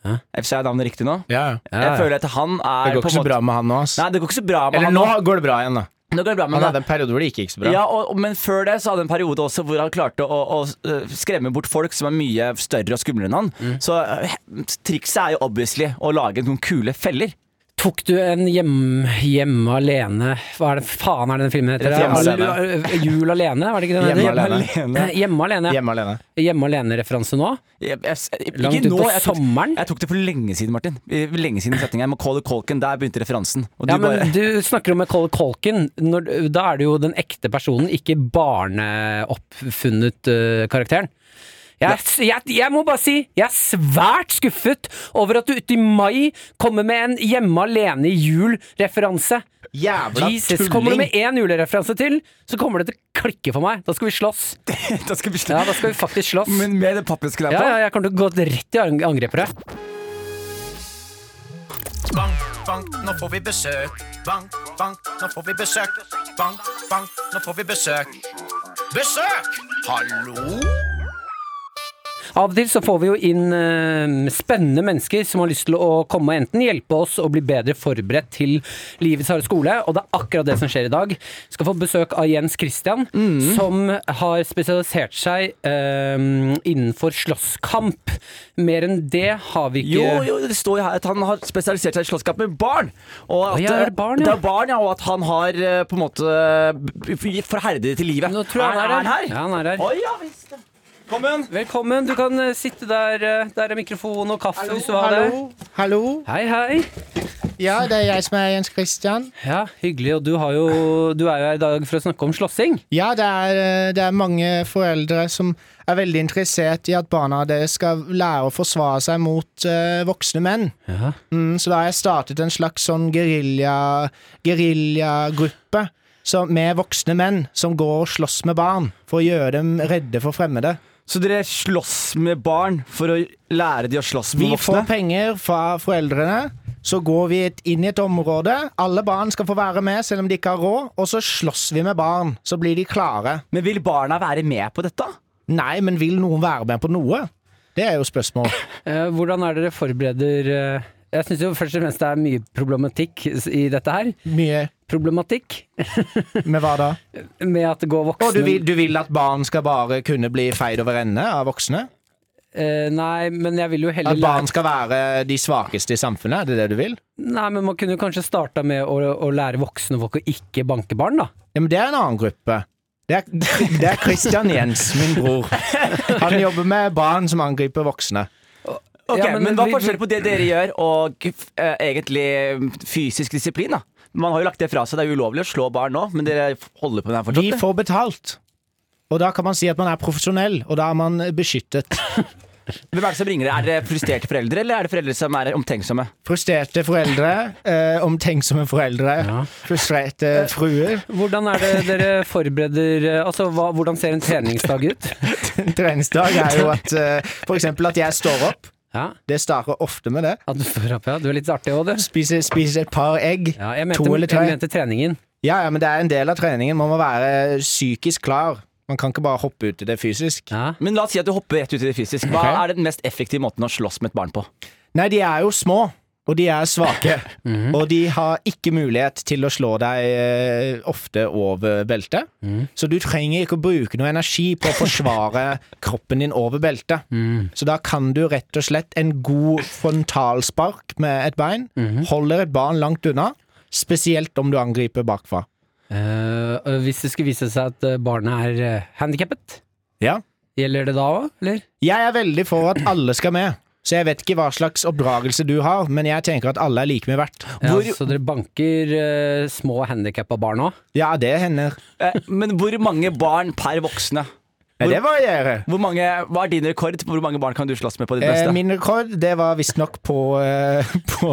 Jeg Sa jeg navnet riktig nå?
Ja, ja.
Jeg føler at han er
Det går
på
ikke
en
så
måte-
bra med han nå, ass.
Nei, det går ikke så bra med
Eller
han
nå
nå.
går det bra igjen, da.
Nå går det bra med
Han
han.
hadde en periode hvor det ikke gikk så bra.
Ja, og, og- men før det så hadde han en periode også hvor han klarte å, å eh, skremme bort folk som er mye større og skumlere enn han.
Mm.
Så eh, trikset er jo obviously å lage noen kule feller.
Tok du en hjem, hjemme alene Hva er det faen er det den filmen heter?
Hjemme
Al-
alene.
ø- Jul alene, var det ikke det? den
Hjemme
heter?
alene.
Eh, Hjemme alene. ja.
Hjemme alene.
Hjemme alene-referanse nå.
Jeg, jeg, jeg,
Langt
ikke
ut
nå,
på
jeg tok,
sommeren?
Jeg tok det for lenge siden, Martin. I- Lenge siden setningen. Macaulay Culkin, der begynte referansen. Og du
Ja, men
bare
du snakker om Macaulay Culkin. Når, da er det jo den ekte personen, ikke barneoppfunnet eh, karakteren. Jeg, er s- jeg, jeg må bare si jeg er svært skuffet over at du ute i mai kommer med en hjemme alene i jul-referanse.
Jævla
Jesus, Kommer du
tulling!
med én julereferanse til, så kommer det til å klikke for meg. Da skal vi slåss.
Da skal vi
Ja,
slutte.
da skal vi faktisk slåss.
Men med det pappesken
Ja,
der på.
ja, jeg kommer til å gå rett i ang- angrep på deg.
Bank, bank, nå får vi besøk. Bank, bank, nå får vi besøk. Bank, bank, nå får vi besøk. Besøk! Hallo?
Av og til så får vi jo inn eh, spennende mennesker som har lyst til å komme og enten hjelpe oss og bli bedre forberedt til livets harde skole, og det er akkurat det som skjer i dag. Vi skal få besøk av Jens Christian, som har spesialisert seg eh, innenfor slåsskamp. Mer enn det har vi
Jo,
ikke
jo, det står jo her at han har spesialisert seg i slåsskamp med barn. Og at,
Å, ja, er det barn, ja?
det er barn, ja, og at han har eh, på en måte eh, f- forherdet det til livet.
Nå tror jeg han er her.
her.
Ja, han er her.
Å, ja, visst det. Kom igjen.
Velkommen. Du kan eh, sitte der. eh, Der er mikrofon og kaffe hvis du har det.
Hallo? Hallo?
Hei, hei.
Ja, det er jeg som er Jens Christian.
Ja, hyggelig. Og du, har jo, du er jo her i dag for å snakke om slåssing.
Ja, det er, eh, det er mange foreldre som er veldig interessert i at barna deres skal lære å forsvare seg mot eh, voksne menn.
Ja.
Mm, så da har jeg startet en slags sånn gerilja- geriljagruppe som- med voksne menn som går og slåss med barn for å gjøre dem redde for fremmede.
Så dere slåss med barn for å lære de å slåss med
Vi får
voksne?
penger fra foreldrene. Så går vi et- inn i et område. Alle barn skal få være med, selv om de ikke har råd. Og så slåss vi med barn. Så blir de klare.
Men vil barna være med på dette?
Nei, men vil noen være med på noe? Det er jo spørsmål.
Eh, hvordan er dere forbereder eh, Jeg syns jo først og fremst det er mye problematikk s- i dette her.
Mye
Problematikk
med hva da?
med at det går voksne
Og du vil, du vil at barn skal bare kunne bli feid over ende av voksne?
Eh, Nei, men jeg vil jo heller
At
lære
barn skal være de svakeste i samfunnet? Er det det du vil?
Nei, men man kunne jo kanskje starta med å, å lære voksne folk å ikke banke barn, da.
Ja, men det er en annen gruppe. Det er, det er Christian Jens, min bror. Han jobber med barn som angriper voksne.
Ok,
Ja, men-
men, hva
vi-
er forskjellen på det dere gjør og eh, egentlig fysisk disiplin? da? Man har jo lagt det fra seg, det er jo ulovlig å slå barn nå, men dere holder på med det her
Vi
fortsatt?
får betalt. Og da kan man si at man er profesjonell, og da er man beskyttet.
Hvem er det som ringer dere? Er det frustrerte foreldre, eller er det foreldre som er omtenksomme?
Frustrerte foreldre, eh, omtenksomme foreldre, frustrerte fruer.
Hvordan er det dere forbereder eh, Altså, hva, hvordan ser en treningsdag ut?
En treningsdag er jo at eh, for eksempel at jeg står opp.
Ja,
Det starter ofte med det.
at du står opp, ja. Du er litt artig òg, du.
Spiser, spiser et par egg.
Ja, jeg
to eller
mente,
tre.
jeg mente treningen.
Ja, ja, men det er en del av treningen. Man må være psykisk klar. Man kan ikke bare hoppe ut i det fysisk.
Ja.
Men la oss si at du hopper rett ut i det fysisk. Hva
Ok.
er den mest effektive måten å slåss med et barn på?
Nei, de er jo små, og de er svake. Og de har ikke mulighet til å slå deg eh, ofte over beltet. Så du trenger ikke å bruke noe energi på å forsvare kroppen din over beltet. Så da kan du rett og slett en god frontalspark med et bein. Holder et barn langt unna, spesielt om du angriper bakfra.
Eh, og hvis det skulle vise seg at eh, barnet er uh, handikappet,
Ja.
gjelder det da òg, eller?
Jeg er veldig for at alle skal med. Så jeg vet ikke hva slags oppdragelse du har, men jeg tenker at alle er like mye verdt.
Ja,
Hvor-
Så dere banker eh, små handikappa barn òg?
Ja, det hender.
Eh, men hvor mange barn per voksne?
Nei, det varierer.
Hvor mange, hva er din rekord? Hvor mange barn kan du slåss med på ditt
Eh,
beste?
min rekord det var visstnok på, eh, på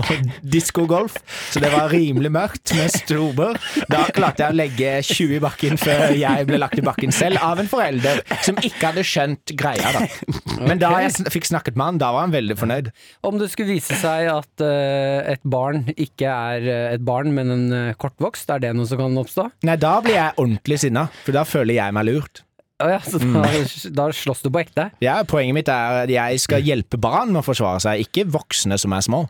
diskogolf, så det var rimelig mørkt med strober. Da klarte jeg å legge 20 i bakken før jeg ble lagt i bakken selv, av en forelder som ikke hadde skjønt greia. da Men da jeg sn- fikk snakket med han, da var han veldig fornøyd.
Om det skulle vise seg at eh, et barn ikke er eh, et barn, men en eh, kortvokst, er det noe som kan oppstå?
Nei, da blir jeg ordentlig sinna, for da føler jeg meg lurt.
Å ja, så da, da slåss du på ekte?
Ja, Poenget mitt er at jeg skal hjelpe barn med å forsvare seg, ikke voksne som er små.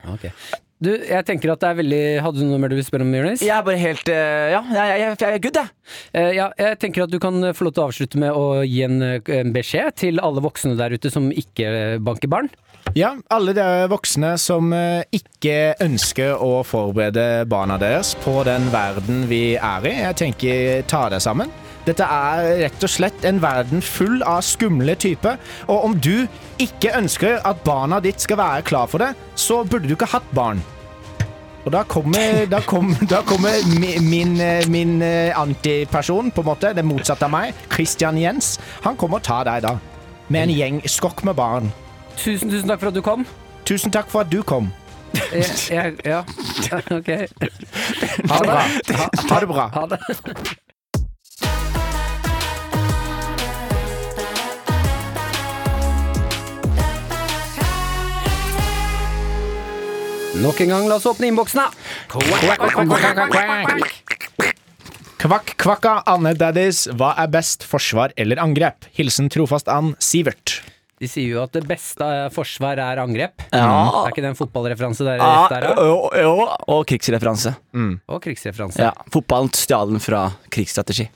Du, jeg tenker at det er veldig Hadde du noe mer du ville spørre om, Jonis?
Jeg er bare helt eh, Ja, jeg, jeg, jeg er good, jeg.
Eh, ja, jeg tenker at du kan eh, få lov til å avslutte med å gi en, eh, en beskjed til alle voksne der ute som ikke eh, banker barn.
Ja, alle dere voksne som eh, ikke ønsker å forberede barna deres på den verden vi er i, jeg tenker ta deg sammen. Dette er rett og slett en verden full av skumle typer, og om du ikke ønsker at barna ditt skal være klar for det, så burde du ikke hatt barn. Og da kommer, da kom, da kommer mi- min, eh, min eh, antiperson, på en måte, det motsatte av meg, Christian Jens, han kommer og tar deg da. Med en gjeng skokk med barn.
Tusen, tusen takk for at du kom.
Tusen takk for at du kom.
Jeg, jeg, ja, ok.
Ha det bra. Ha, ha det bra.
Ha det. Nok en gang, la oss åpne innboksen, da.
Kvakk, kvakka, Anne Daddies. Hva er best, forsvar eller angrep? Hilsen trofast and Sivert.
De sier jo at det beste eh, forsvar er angrep.
Ja.
Er ikke det en fotballreferanse der? der
Ah,
da?
jo, jo, og krigsreferanse.
Og krigsreferanse.
Ja, Fotballen stjal den fra krigsstrategi.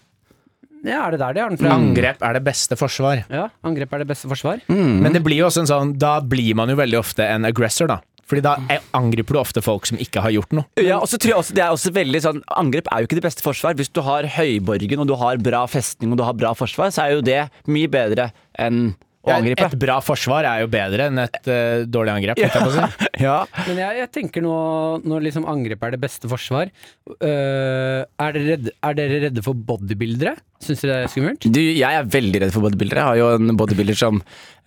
Ja, er det der de har den fra?
Mm.
Angrep er det beste forsvar.
Ja, angrep er det beste forsvar.
Men det blir jo også en sånn, da blir man jo veldig ofte en aggressor, da. Fordi da er- angriper du ofte folk som ikke har gjort noe.
Ja, og så tror jeg også, det er også veldig sånn Angrep er jo ikke det beste forsvar. Hvis du har høyborgen, og du har bra festning og du har bra forsvar, så er jo det mye bedre enn å angripe.
Et bra forsvar er jo bedre enn et eh, dårlig angrep. holdt jeg på å si.
Ja.
Men jeg, jeg tenker nå, når liksom angrep er det beste forsvar øh, er, dere redde, er dere redde for bodybuildere? Syns dere det er skummelt?
Du, jeg er veldig redd for bodybuildere. Jeg har jo en bodybuilder som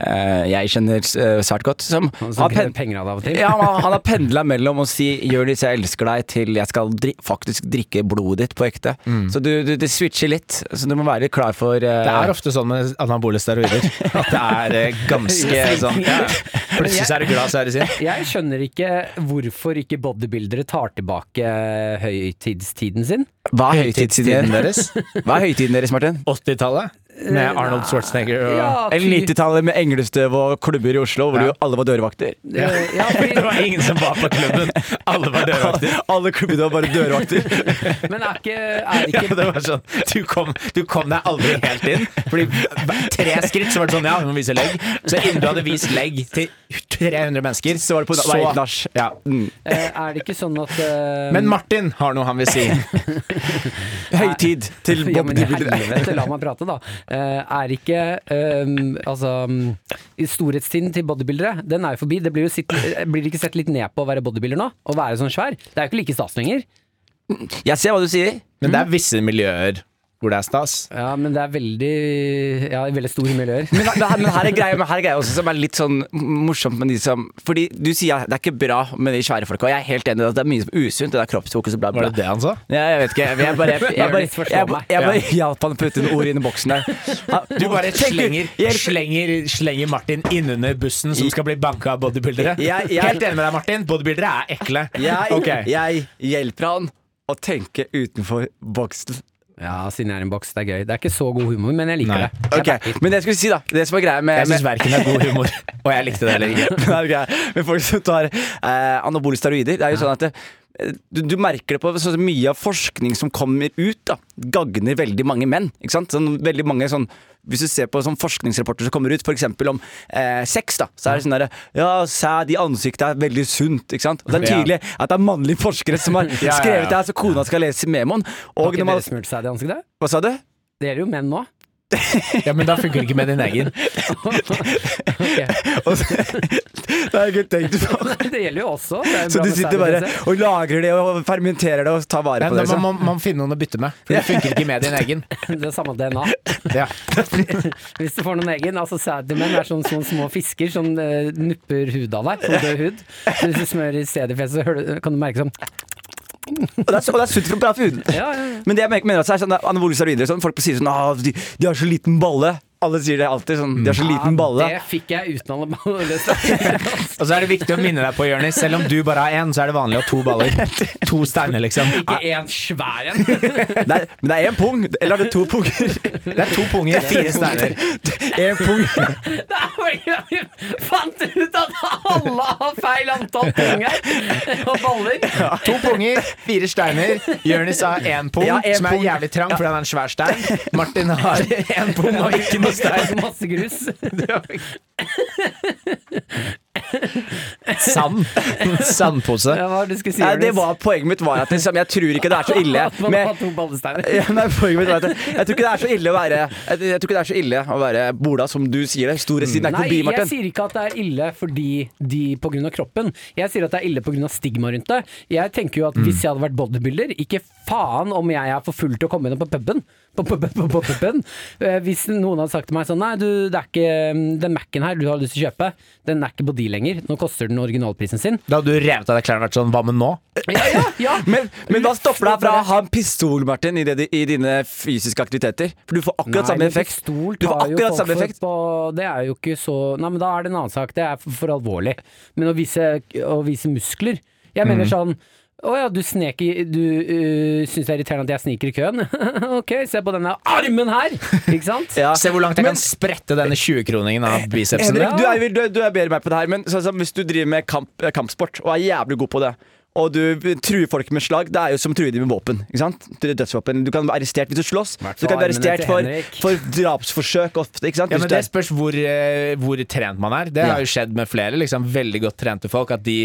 eh, jeg kjenner eh, svært godt. Som
Han
har
som krever
pen-
penger av deg av og til.
ja, han han har pendla mellom å si 'gjør det hvis jeg elsker deg' til 'jeg skal dri faktisk drikke blodet ditt på ekte'. Så du, du, det switcher litt, så du må være litt klar for eh,
Mm. Det er ofte sånn med anabole steroider at det er eh, ganske sånn ja. Plutselig så er du glad, så er du sint.
Jeg skjønner ikke hvorfor ikke bodybuildere tar tilbake høytidstiden sin.
Hva er høytidstiden
Tiden
deres?
deres.
Hva er høytiden deres, Martin?
80-tallet med Arnold Schwarzenegger og
Eller 90-tallet med englestøv og klubber i Oslo, hvor jo alle var dørvakter.
ja. ja,
Det
fordi,
var ingen som var på klubben. Alle var dørvakter.
Alle klubbene var bare dørvakter.
Men er ikke, er
Ja,
ikke
det var sånn, du kom, du kom deg aldri helt inn. Fordi hver- tre skritt så var det sånn Ja, vi må vise legg. Så innen du hadde vist legg til 300 mennesker, så var det på
Så-
vei nach. Ja.
Mm.
Eh, Er det ikke sånn at eh,
Men Martin har noe han vil si.
Høytid til
ja, men i
bodybuildere.
helvete, la meg prate, da. Eh, er ikke ehm, altså, mm, i storhetstiden til bodybuildere Den er jo forbi. Det blir, jo sitt, eh, blir det ikke sett litt ned på å være bodybuilder nå? Å være sånn svær? Det er jo ikke like stas lenger.
Jeg ser hva du sier.
Men det er visse miljøer hvor det er stas.
Ja, men det er veldig Ja, i veldig store miljøer.
Men, det her, men her er greia, men her er greia også som er litt sånn morsomt med de som Fordi du sier at det er ikke bra med de svære folka, og jeg er helt enig i at det er mye som er usunt. Det der kroppsfokus og bla,
Var
bla.
det det han sa?
Ja, jeg vet ikke. Jeg, jeg bare, jeg, bare, jeg,
Jonis,
bare,
forstå
jeg,
meg.
bare, jeg bare hjalp han å putte noen ord inn i boksen der. Han-
Du bare
Tenk-
slenger,
Jeg-
slenger, slenger Martin innunder bussen som skal bli banka av bodybuildere.
Jeg- jeg-
Helt enig med deg, Martin. Bodybuildere er ekle.
Jeg,
Ok.
jeg hjelper han å tenke utenfor boksen.
Ja, siden jeg er en boks, det er gøy. Det er ikke så god humor, men jeg liker
Nei.
det.
Ok, Men det jeg skulle si, da. Det som er greia med
Jeg syns verken er god humor, og jeg likte det heller ikke.
Nei, ok. Men folk som tar eh, anabole steroider Det er jo sånn at det, du, du merker det på så mye av forskning som kommer ut da Gagner veldig mange menn Ikke sant? Sånn, veldig mange sånn Hvis du ser på sånn forskningsrapporter som kommer ut For eksempel om eh, sex da Så er det sånn der Ja, sæd i ansiktet er veldig sunt Ikke sant? Og det er
Ja.
tydelig at det er mannlige forskere som har
ja, ja.
skrevet det her Så kona skal lese memoen
Har
Og
ikke dere
når man
smurt seg i ansiktet?
Hva sa du?
Det gjelder jo menn nå.
Ja, Men da funker det ikke med din egen.
Ok.
Og så- det har jeg ikke tenkt på
Det gjelder jo også. Det er jo bra
Så du
med sæd,
sitter bare
synes jeg.
og lagrer det Og fermenterer det og tar vare
Nei,
på
da
det
må
liksom.
man, man finne noen å bytte med, for det funker ikke med din egen.
Det er samme DNA.
Ja.
Hvis du får noen egen, altså sædmenn er sånne, sånne små fisker som eh, nupper hud av deg, sånn død hud. Så hvis du smører sædfjes, så hører du- kan du merke sånn
Og det er, og det er sunt for bra for huden.
Ja, ja, ja.
Men det jeg merker- mener også er sånn anabole steroider og sånn. Folk sier sånn ah, de, 'De har så liten balle'. Alle sier det alltid. sånn, 'De har så liten balle'.
Det fikk jeg uten alle ballene.
Og så er det viktig å minne deg på, Jonis, selv om du bare har én, så er det vanlig å ha to baller. To steiner, liksom.
Ikke én svær en.
Det er, men det er én pung. Eller er det to punger?
Det er to punger, fire steiner. Ah,
Én pung.
Det er vel ikke- vi Fant ut at alle har feil antall tunger og baller.
To punger, fire steiner. Jonis har én pung,
Ja, én
som er
pung.
jævlig trang fordi han er en svær stein. Martin har én pung og ikke noe stein.
Masse grus.
Sand. Sandpose.
Ja, hva var det du skulle si?
Nei, det
Jonas?
var Poenget mitt var at liksom, jeg tror ikke det er så ille.
At man har
Med,
to ballesteiner.
ja, nei, poenget mitt var at jeg, jeg tror ikke det er så ille å være Jeg, jeg tror ikke det er så ille å være bola, som du sier det. Storhetstiden er ikke
Nei,
forbi,
jeg
Martin.
sier ikke at det er ille fordi de pga. kroppen. Jeg sier at det er ille pga. stigma rundt det. Jeg tenker jo at
Mm.
hvis jeg hadde vært bodybuilder, ikke faen om jeg er for full til å komme inn på puben. På, på, på, på puben. Eh, Hvis noen hadde sagt til meg sånn Nei, du, det er ikke mm, den Mac-en her du har lyst til å kjøpe, den er ikke på de lenger. Nå koster den originalprisen sin.
Da hadde du revet av deg klærne og vært sånn, hva med nå?
Ja, ja, ja.
Men, men hva stopper deg fra å ha en pistol, Martin, i, det, di- i dine fysiske aktiviteter? For du får akkurat samme
men
effekt.
pistol
Du får
tar jo
akkurat
folk
samme
for
effekt.
På, det er jo ikke så Nei, men da er det en annen sak. Det er for, for alvorlig. Men å vise, å vise muskler Jeg
Mm.
mener sånn å ja, du, snek i- du øh, syns det er irriterende at jeg sniker i køen? ok, se på denne armen her! Ikke sant?
Ja.
Se hvor langt jeg kan sprette denne 20-kroningen av bicepsen.
Henrik,
din.
du er, jo- du, du er bedre enn meg på det her, men sånn som hvis du driver med kamp, eh, kampsport og er jævlig god på det og du truer folk med slag. Det er jo som å true dem med våpen. Ikke sant? Du- Dødsvåpen. Du kan være arrestert hvis du slåss.
Hvertfall
Du kan bli
armene til
arrestert for,
Henrik.
for drapsforsøk ofte. Ikke
Ja,
sant? Hvis
men
du er-
Det spørs hvor, eh, hvor trent man er. Det har jo skjedd med flere liksom, veldig godt trente folk. At de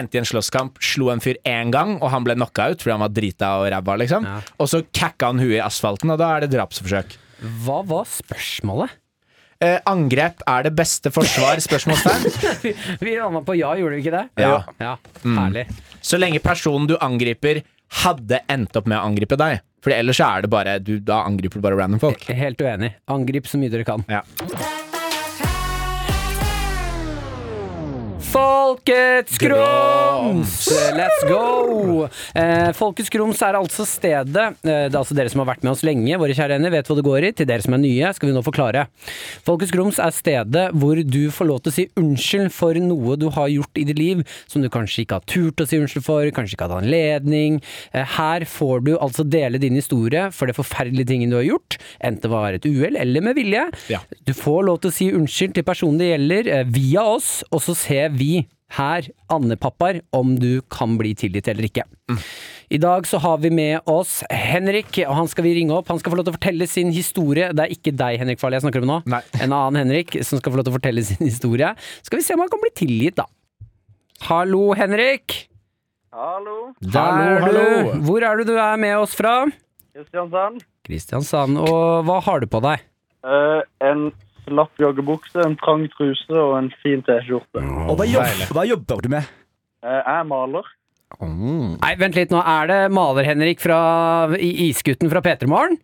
endte i en slåsskamp, slo en fyr én gang, og han ble knocka ut fordi han var drita og ræva. Liksom.
Ja.
Og så kakka han huet i asfalten, og da er det drapsforsøk.
Hva var spørsmålet?
Eh, angrep er det beste forsvar? Spørsmålstegn.
Vi landa på ja, gjorde vi ikke det?
Ja.
ja.
Mm.
Herlig.
Så lenge personen du angriper, hadde endt opp med å angripe deg. Fordi ellers så er det bare du, Da angriper du bare random folk.
Helt uenig. Angrip så mye dere kan.
Ja.
Folkets grums! Let's go! Eh, Folkets grums er altså stedet eh, Det er altså dere som har vært med oss lenge, våre kjære venner, vet hva det går i. Til dere som er nye, skal vi nå forklare. Folkets grums er stedet hvor du får lov til å si unnskyld for noe du har gjort i ditt liv som du kanskje ikke har turt å si unnskyld for, kanskje ikke har hatt anledning. Eh, her får du altså dele din historie for det forferdelige tingen du har gjort, enten det var et uhell eller med vilje.
Ja.
Du får lov til å si unnskyld til personen det gjelder, eh, via oss, og så ser vi her, andepappaer, om du kan bli tilgitt eller ikke.
Mm.
I dag så har vi med oss Henrik, og han skal vi ringe opp. Han skal få lov til å fortelle sin historie. Det er ikke deg, Henrik Farley, jeg snakker om nå.
Nei.
En annen Henrik som skal få lov til å fortelle sin historie. Skal vi se om han kan bli tilgitt, da. Hallo, Henrik. Der
Hallo,
er du.
hallo.
Hvor er du du er med oss fra?
Kristiansand.
Kristiansand. Og hva har du på deg?
Eh, en slapp joggebukse, en trang truse og en fin T-skjorte.
Og hva, jobb, hva jobber du med?
Eh, jeg maler.
Nei, vent litt, nå er det Maler-Henrik fra I- Isgutten fra P3morgen?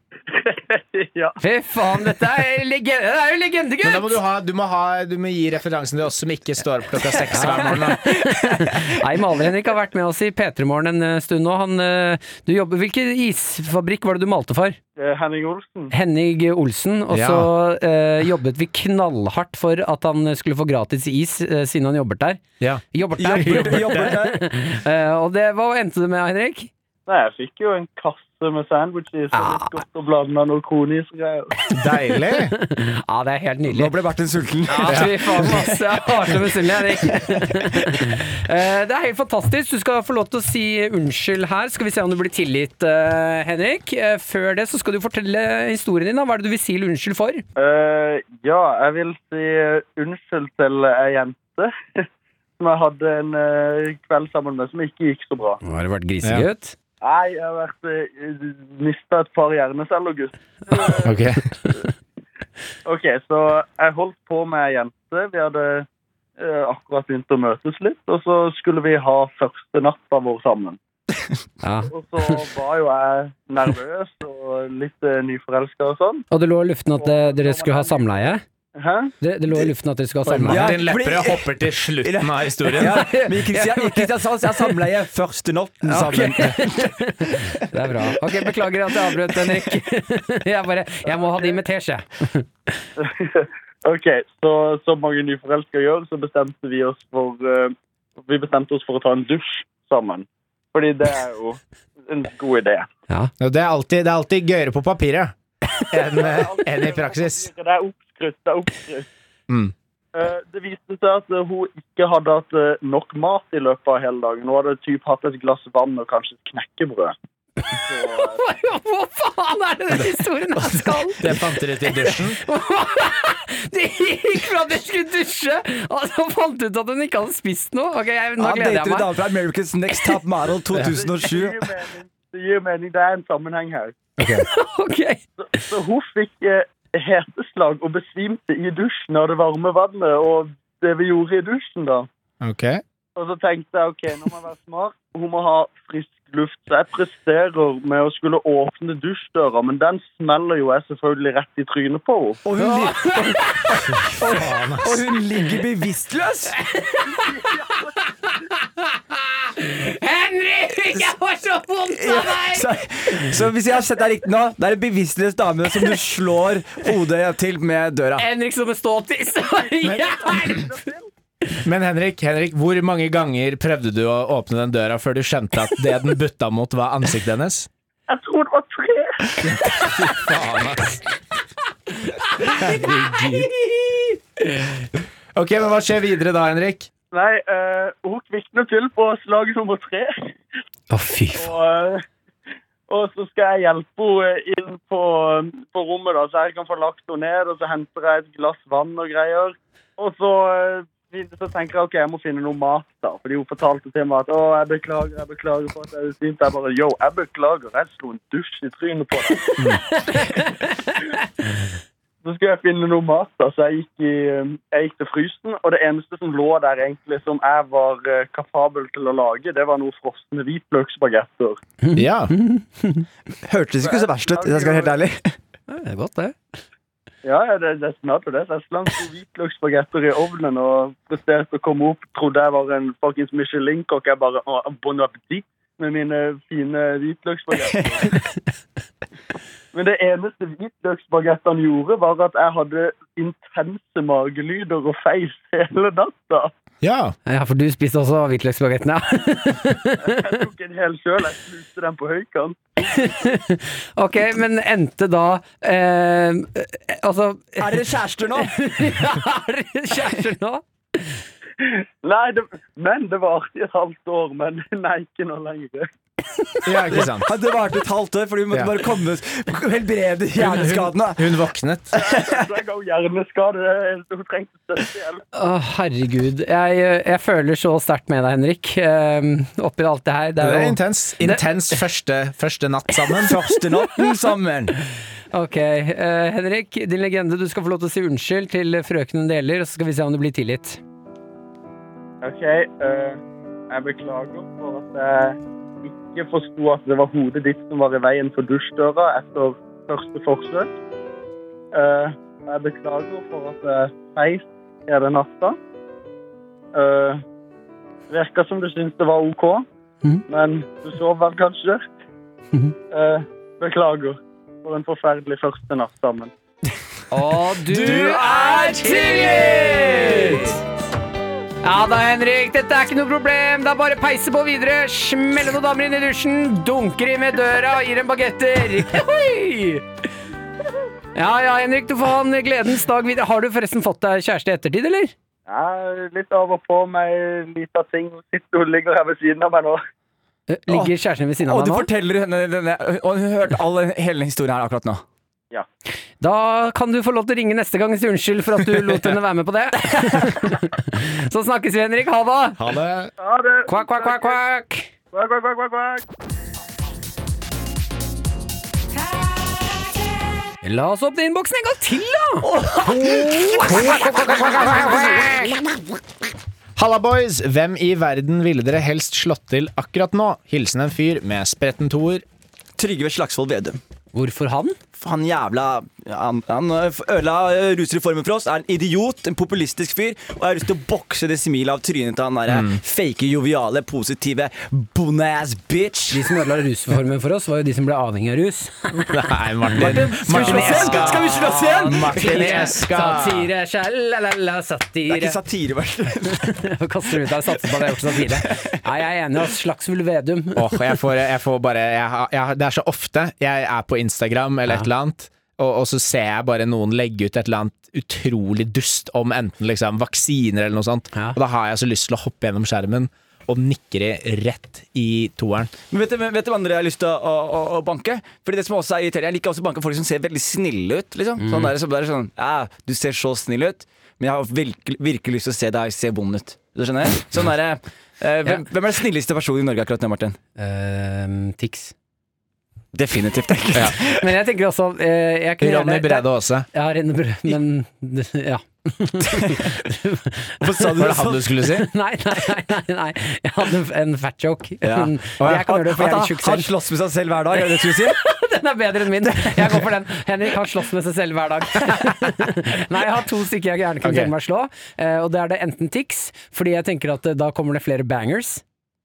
ja.
Fy faen, dette er, lege- det er jo
Men da må
legendegutt!
du, ha, du, må ha, du må gi referansen til oss som ikke står opp klokka seks hver morgen. da.
Nei, Maler-Henrik har vært med oss i P3morgen en eh, stund nå. Han, eh, du jobber, hvilken isfabrikk var det du malte for?
Eh, Henning Olsen.
Henning Olsen. Og så eh, jobbet vi knallhardt for at han skulle få gratis is, eh, siden han jobbet der.
Ja.
Jobbet der.
jobber du med?
Eh, og det, hva endte det med, Henrik?
Nei, jeg fikk jo en kasse med sandwiches og litt godt å blande med noe konisgreier.
Deilig!
Ja, det er helt nydelig.
Nå ble Martin sulten.
Ja, fy faen, ass. Jeg har så misunnelig, Henrik. Eh, Det er helt fantastisk. Du skal få lov til å si unnskyld her. Skal vi se om du blir tilgitt, eh, Henrik. Eh, Før det så skal du fortelle historien din. da. Hva er det du vil si unnskyld for?
Eh, ja, jeg vil si eh, unnskyld til ei jente som jeg hadde en eh, kveld sammen med som ikke gikk så bra.
Har du vært
grisegutt?
Nei, jeg har vært uh, mista et par hjerneceller, gutt.
Ok.
Ok, så jeg holdt på med ei jente. Vi hadde eh, akkurat begynt å møtes litt, og så skulle vi ha første natta vår sammen.
Ja.
Og så var jo jeg nervøs og litt uh, nyforelska og sånn.
Og det lå i luften at eh, dere skulle ha samleie?
Hæ?
Det, det lå i luften at dere skulle ha samleie?
Ja,
Martin Lepperød
fordi-
hopper til slutten av historien.
Ja, men i Kristian- i Kristiansand så er samleie første natten sammen.
Det er bra. Ok, Beklager at jeg avbrøt, Henrik. Jeg bare, jeg må ha de med teskje.
OK, så som mange nyforelska gjør, så bestemte vi oss for eh, Vi bestemte oss for å ta en dusj sammen. Fordi det er jo en god idé.
Ja, Det er alltid, det er alltid gøyere på papiret enn eh, enn i praksis.
Det er oppskrytt, det er oppskrytt.
Mm.
Eh, Det viste seg at eh, hun ikke hadde hatt eh, nok mat i løpet av hele dagen. Hun hadde typ hatt et glass vann og kanskje et knekkebrød. Så, eh,
Hva faen er det den historien her skal?
Det fant dere ut i dusjen.
Det gikk fra at jeg skulle dusje, og så fant jeg ut at hun ikke hadde spist noe. Ok, jeg, Nå
Han
gleder jeg
dater en
meg.
dame fra Americans Next Top Model
det
2007.
gir mening. Det gir mening. Det er en sammenheng her.
Ok,
Så hun fikk eh, heteslag og besvimte i dusjen av det varme vannet og det vi gjorde i dusjen, da.
Ok
Og så tenkte jeg ok, nå må jeg være smart. Hun må ha frisk luft. Så jeg presterer med å skulle åpne dusjdøra, men den smeller jo jeg selvfølgelig rett i trynet på henne.
Og hun, li- og hun ligger bevisstløs!
Henrik, jeg har så vondt av deg!
Så, så hvis jeg har sett deg riktig nå, det er en bevisstløs dame som du slår hodet til med døra.
Henrik som en ståtiss. Hjelp!
Men Henrik, Henrik, hvor mange ganger prøvde du å åpne den døra før du skjønte at det den butta mot, var ansiktet hennes?
Jeg tror det var tre.
Faen, ass. Herregud. Ok, men hva skjer videre da, Henrik?
Nei, eh, hun kvikner til på slag nummer tre.
Å, fy faen.
Og, eh, og så skal jeg hjelpe henne eh, inn på, eh, på rommet, da, så jeg kan få lagt henne ned. Og så henter jeg et glass vann og greier. Og så, eh, vid- så tenker jeg ok, jeg må finne noe mat, da. Fordi hun fortalte til meg at å, jeg beklager, jeg beklager for at jeg er sint. Jeg bare yo, jeg beklager, jeg slo en dusj i trynet på deg. så skulle jeg finne noe mat, da, så jeg gikk, i, um, jeg gikk til frysen. Og det eneste som lå der egentlig som jeg var eh, kapabel til å lage, det var noen frosne hvitløksbagetter.
Ja.
Hørtes ikke så verst ut, hvis jeg skal være helt ærlig.
Det er godt, det.
Ja, ja, det, det snadde det. Så jeg slang to hvitløksbagetter i ovnen og presterte å komme opp. Trodde jeg var en fuckings Michelin-kokk. Jeg bare «Å, Bon appétit med mine fine hvitløksbagetter. Men det eneste hvitløksbagettene gjorde, var at jeg hadde intense magelyder og feis hele natta.
ja.
Ja, for du spiste også hvitløksbagetten, ja.
Jeg tok en hel sjøl. Jeg sluste den på høykant.
Ok, men endte da eh, Altså
Er dere kjærester nå?
Er det kjærester nå?
Nei, det, men det varte i et halvt år. Men nei, ikke noe lenger.
ja, ikke sant.
Ja, Det varte et halvt år, for vi måtte
Ja.
bare komme helbrede hjerneskadene.
Hun våknet.
Så jeg ga henne hjerneskade. Det eneste Hun trengte støttehjelp.
Å, herregud. Jeg, eh, jeg føler så sterkt med deg, Henrik. Um, oppi alt det her. Det
Det
er
er
jo
intens. Intens første, første natt sammen.
Første natten sammen.
Ok, eh, Henrik. Din legende. Du skal få lov til å si unnskyld til frøkenen det gjelder, og så skal vi se om du blir tilgitt.
OK, eh, jeg beklager for at jeg ikke forsto at det var hodet ditt som var i veien for dusjdøra etter første forsøk. Eh, jeg beklager for at jeg feis hele natta. Uh, Virka som du syntes det var OK,
Mhm.
men du sov vel kanskje?
Mhm.
Eh, beklager for en forferdelig første natt sammen.
Og du, er tilgitt! Ja da, Henrik. Dette er ikke noe problem. Det er bare å peise på videre. Smelle noen damer inn i dusjen, dunker i med døra og gir dem bagetter. Hoi! Ja ja, Henrik. Du får ha en gledens dag videre. Har du forresten fått deg kjæreste i ettertid, eller?
Jeg er litt av og på med en liten ting. Hun sitter og ligger her ved siden av meg nå.
Ligger kjæresten ved siden
Og
av
du
deg nå?
forteller henne denne, og hun hørte all, hele historien her akkurat nå.
Da kan du få lov til å ringe neste gang og si unnskyld for at du lot henne være med på det. Så snakkes vi, Henrik. Ha det!
Ha det.
Ha det!
Kvakk, kvakk, kvakk, kvakk.
Kvakk, kvakk, kvakk, kvakk, kvakk.
La oss åpne innboksen en gang til, da!
Halla, boys! Hvem i verden ville dere helst slått til akkurat nå? Hilsen en fyr med spretten toer.
Trygve Slagsvold Vedum.
Hvorfor han?
Han jævla Han, han øh, ødela rusreformen for oss. Er en idiot, en populistisk fyr. Og jeg har lyst til å bokse det smilet av trynet til han derre fake, joviale, positive bondass bitch.
De som ødela rusformen for oss, var jo de som ble avhengig av rus.
Nei, Martin.
Skal vi slå oss igjen? Skal vi slå oss igjen?
Martin Eska.
Satire, sjalalala,
Det er
satire.
ikke satireverset.
Kaster ut av satser på at jeg har gjort satire. Nei, jeg er enig, ass. Slagsvold Vedum.
Åh, jeg får, jeg får bare jeg, har- jeg, har- Det er så ofte jeg er på Instagram eller et eller annet, og, og så ser jeg bare noen legge ut et eller annet utrolig dust om enten liksom vaksiner eller noe sånt,
Ja.
og da har jeg så lyst til å hoppe gjennom skjermen og nikke det rett i toeren.
Men vet du vet du hva andre jeg har lyst til å, å, å, å banke? Fordi det som også er irriterende Jeg liker også å banke folk som ser veldig snille ut. Liksom. Sånn der, som bare sånn ja, Du ser så snill ut, men jeg har virkelig, virkelig lyst til å se deg se bond ut. Du skjønner? Sånn der, eh, hvem, hvem er den snilleste personen i Norge akkurat nå, Martin?
Ehm, Tix.
Definitivt ikke.
Men jeg tenker også eh, jeg kunne
Ronny
gjerne-
Brede Aase.
Ja, Renny Brød, men ja.
Hvorfor sa
Var
du det
det han
sånn?
du skulle si?
Nei, nei, nei, nei, nei. Jeg hadde en fat joke.
Ja.
Men jeg kan gjøre det, for jeg er
At
litt tjukk
han, han
selv.
slåss med seg selv hver dag, er det det du skulle si?
Den er bedre enn min. Jeg går for den. Henrik han slåss med seg selv hver dag. Nei, jeg har to stykker jeg gjerne kunne
Ok.
tenke meg å slå. eh, Og det er det enten Tix, fordi jeg tenker at eh, da kommer det flere bangers.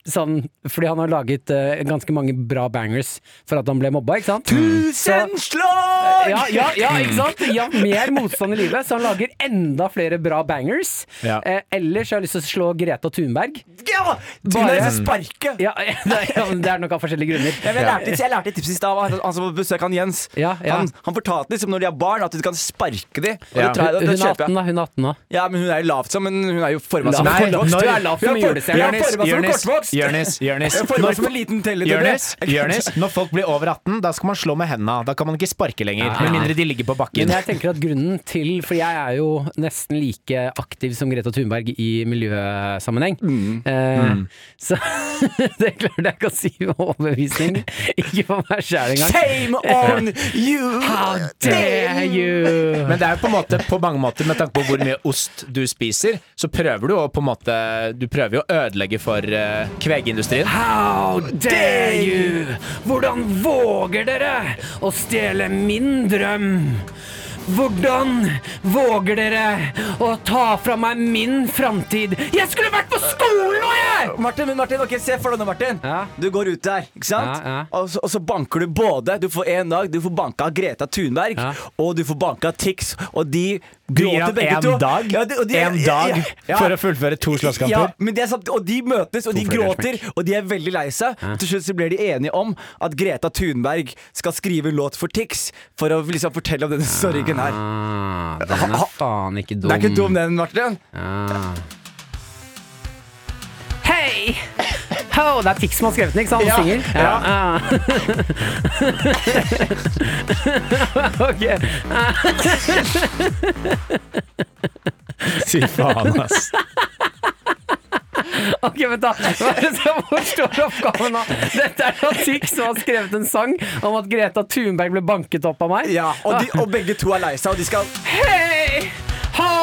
Sånn, fordi han har laget eh, ganske mange bra bangers for at han ble mobba, ikke sant?
Tusen slag!
Ja, ja, ja, ikke sant? Ja, mer motstand i livet, så han lager enda flere bra bangers.
Ja.
Eh, ellers har jeg lyst til å slå Greta Thunberg.
Ja! Du
Bare-
er så sparke!
Ja, det, ja, men det er nok av forskjellige grunner.
Ja, men Jeg lærte, jeg lærte et tips i stad. Han han som var på besøk, han Jens.
Ja, ja.
Han, han fortalte liksom når de har barn, at du kan sparke dem.
Ja.
Det,
Hun,
det,
hun er
kjøper
18
jeg.
da, hun er 18 nå.
Ja, men hun er jo lavt som, men hun er jo forma som
Nei,
kortvokst.
når-
Du er lav som
Hun er for-
julestjerne.
Hun er forma som
Jonis,
kortvokst!
Jørnis, Jørnis.
Jeg former meg som en liten teller.
Jørnis, Jørnis, når folk blir over 18, da skal man slå med henda. Da kan man ikke sparke lenger. Med mindre de ligger på
Men
bakken.
jeg tenker at grunnen til For jeg er jo nesten like aktiv som Greta Thunberg i miljøsammenheng.
Mm.
Eh, Så det klarte jeg ikke å si med overbevisning. Ikke for meg sjæl engang.
Shame on you!
How dare you!
Men det er jo på, en måte, på mange måter, med tanke på hvor mye ost du spiser, så prøver du å på en måte Du prøver jo å ødelegge for eh, kvegindustrien.
How dare you! Hvordan våger dere å stjele min drøm? Hvordan våger dere å ta fra meg min framtid? Jeg skulle vært på skolen nå, jeg!
Martin, men Martin, ok, se for deg nå, Martin.
Ja.
Du går ut der, ikke sant?
Ja, ja.
Og, så, og så banker du både. Du får en dag, du får banka Greta Thunberg,
Ja.
og du får banka Tix, og de
gir
gråter
ham
begge to.
en dag,
Ja, de- og de-
en
ja,
dag
ja.
for å fullføre to
Ja,
slåsskamper.
men det er sant, og de møtes, og de gråter, og de er veldig lei seg. Til slutt så blir de enige om at Greta Thunberg skal skrive en låt for Tix, for å liksom fortelle om denne sorgen her.
Ah, den er faen ikke dum.
Det er ikke dum, den, Martin.
Hei! Ho, det er Tix som har skrevet den, ikke sant? Han
Ja,
synger.
ja.
Ah. ok.
Fy faen, ass.
Ok, vent da. Hva er det som forstår oppgaven nå? Dette er da Tix som har skrevet en sang om at Greta Thunberg ble banket opp av meg.
Ja, og, de, og begge to er lei seg, og de skal
Hei! Ho!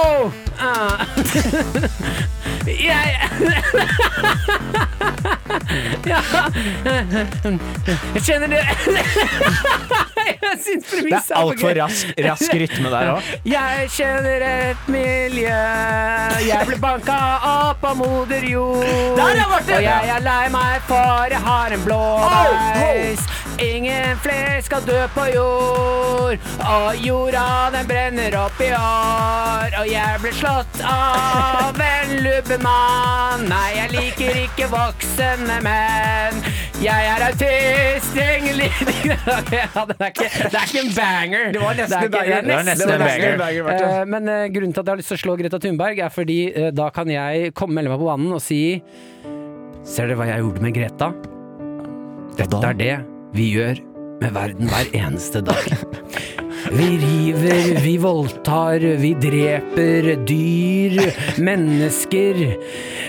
Ah. Jeg Ja. Jeg kjenner det Jeg syns
Det
premisset
er altfor rask, rask rytme der òg.
Jeg kjenner et miljø. Jeg ble banka opp av moder jord.
Der, ja, Martin! Oh,
Og jeg er lei meg, for jeg har en blåveis. Ingen flere skal dø på jord. Og jorda, den brenner opp i år. Og jeg ble slått av en lubbemann. Nei, jeg liker ikke voksne menn. Jeg er autist, egentlig Ok, ja, den er ikke, Det er ikke en banger. Det
var nesten
er
en
ikke-
banger.
det er
Det var nesten en banger.
Martin.
Eh, men eh, grunnen til at jeg har lyst til å slå Greta Thunberg, er fordi eh, da kan jeg komme melde meg på banen og si Ser dere hva jeg gjorde med Greta? Dette er det vi gjør med verden hver eneste dag. Vi river, vi voldtar, vi dreper dyr, mennesker.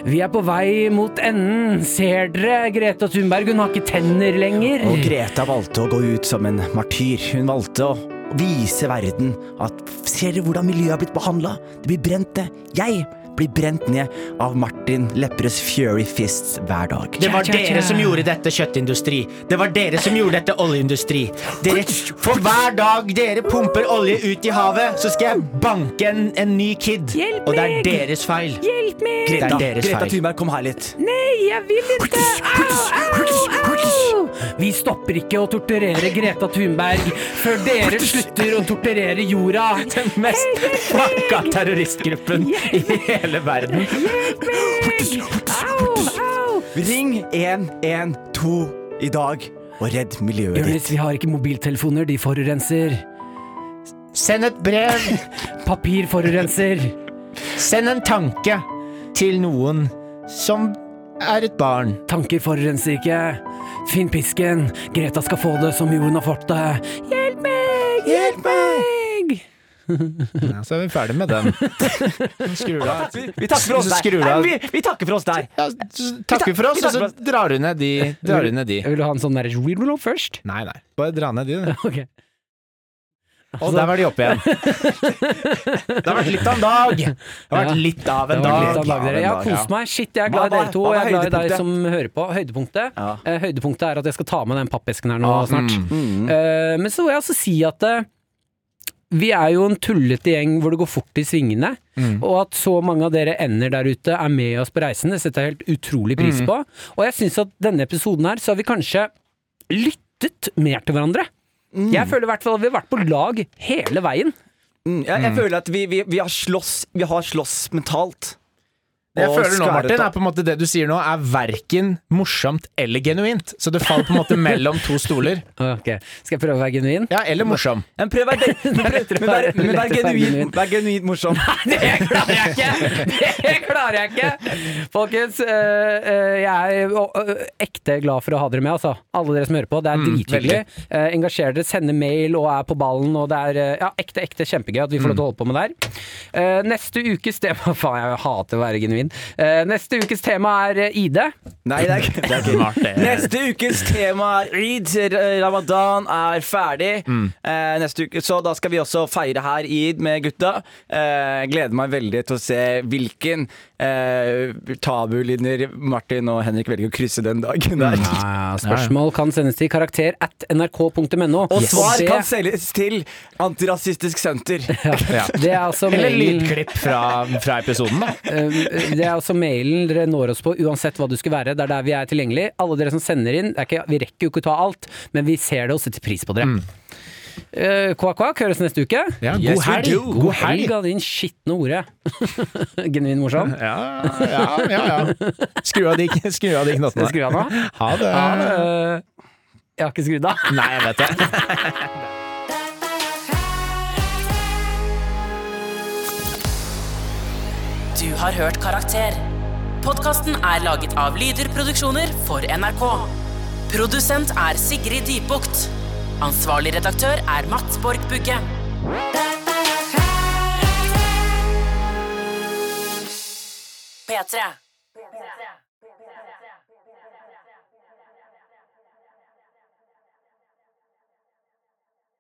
Vi er på vei mot enden. Ser dere Greta Thunberg? Hun har ikke tenner lenger.
Og Greta valgte å gå ut som en martyr. Hun valgte å vise verden at Ser dere hvordan miljøet er blitt behandla? Det blir brent ned. Jeg blir brent ned av Martin Lepperøds Fury Fists hver dag.
Det var dere som gjorde dette kjøttindustri. Det var dere som gjorde dette oljeindustri. Dere, for hver dag dere pumper olje ut i havet, så skal jeg banke en, en ny kid.
Hjelp
Og det er
meg!
deres feil.
Hjelp meg!
Det er deres
Greta
feil.
Thunberg, kom her litt.
Nei, jeg vil ikke! Au, au, au! Vi stopper ikke å torturere Greta Thunberg før dere slutter å torturere jorda.
Den mest fucka terroristgruppen i hele verden.
Au, au!
Ring 112 i dag og redd miljøet ditt.
Jonis, vi har ikke mobiltelefoner, de forurenser.
Send et brev,
Papir forurenser.
send en tanke til noen som er et barn.
Tanker forurenser ikke. Finn pisken. Greta skal få det som jorden har fått det. Hjelp meg! Hjelp meg!
Ja, så er vi ferdig med den. Skrur du av.
Vi, vi takker for oss
Så
der.
skrur du
Nei,
av.
vi, vi takker for oss der.
Ja, så takker vi for oss, og så drar du ned de. Drar du ned de.
Vil du ha en sånn derre reroll først?
Nei, nei. Bare dra ned de, du.
Ok.
Og der var de oppe igjen. Det har vært litt av en dag. Det har vært
Ja.
litt av en
Det var litt
dag.
av dagen dere. Jeg har
Ja.
kost meg. Shit, jeg er
Hva-
glad i
hva-
dere to, og
hva var
jeg er glad i deg
høydepunktet?
som hører på. Høydepunktet
Ja.
Eh, Høydepunktet er at jeg skal ta med den pappesken her nå
Ah,
snart. Eh, men så vil jeg også si at eh, vi er jo en tullete gjeng hvor det går fort i svingene,
Mm.
og at så mange av dere ender der ute er med oss på reisen, det setter jeg helt utrolig pris
Mm.
på. Og jeg syns at denne episoden her, så har vi kanskje lyttet mer til hverandre. Jeg føler i hvert fall at vi har vært på lag hele veien.
Mm.
Mm, jeg, jeg føler at vi, vi, vi har slåss Vi har slåss mentalt.
Det jeg
og
føler nå,
skværet
Martin,
opp.
er på en måte det du sier nå, er verken morsomt eller genuint. Så det faller på en måte mellom to stoler.
Ok, Skal jeg prøve å være genuin?
Ja, eller morsom.
Men prøv å være det- men prøv- men vær- men vær genuint- vær genuint morsom.
Det klarer jeg ikke! Det klarer jeg ikke! Folkens, øh, øh, jeg er øh, ekte glad for å ha dere med, altså. Alle dere som hører på. Det er
Mm,
drithyggelig. Eh, Engasjerer dere, sender mail og er på ballen, og det er øh, ja, ekte, ekte kjempegøy at vi får lov
Mm.
til å holde på med det her. Eh, Neste ukes tema Faen, jeg hater å være genuin. Eh, Neste ukes tema er øh, ID.
Nei, det er ikke
Det er ikke
Neste ukes tema er Eid. Ramadan er ferdig.
Mm.
Eh, neste uke, så da skal vi også feire her Eid med gutta. Eh, gleder meg veldig til å se hvilken eh, tabulinjer Martin og Henrik velger å krysse den dagen der.
Mm.
Ja, Spørsmål kan sendes til karakter at nrk.no.
Og svar
det-
kan selges til Antirasistisk Senter.
Ja.
Det er altså
Eller
mailen,
lydklipp fra, fra episoden, da.
eh, det er altså mailen dere når oss på uansett hva du skulle være. Det er der vi er tilgjengelig. Alle dere som sender inn, det er ikke, vi rekker jo ikke å ta alt, men vi ser det og setter pris på dere. Eh, Kvakk, kvakk, høres neste uke.
Mm. Ja, god
Yes, we
helg!
do.
God helg!
Helga, din skitne hore. Genuin morsom.
Ja, ja, ja. ja. Skru av de, skru av de knottene.
Skru av nå.
Ha det.
Eh, jeg har ikke skrudd av.
Nei, jeg vet det.
Du har hørt Karakter. Podkasten er laget av Lyder Produksjoner for NRK. Produsent er Sigrid Dybukt. Ansvarlig redaktør er Matt Borg Bugge. P3.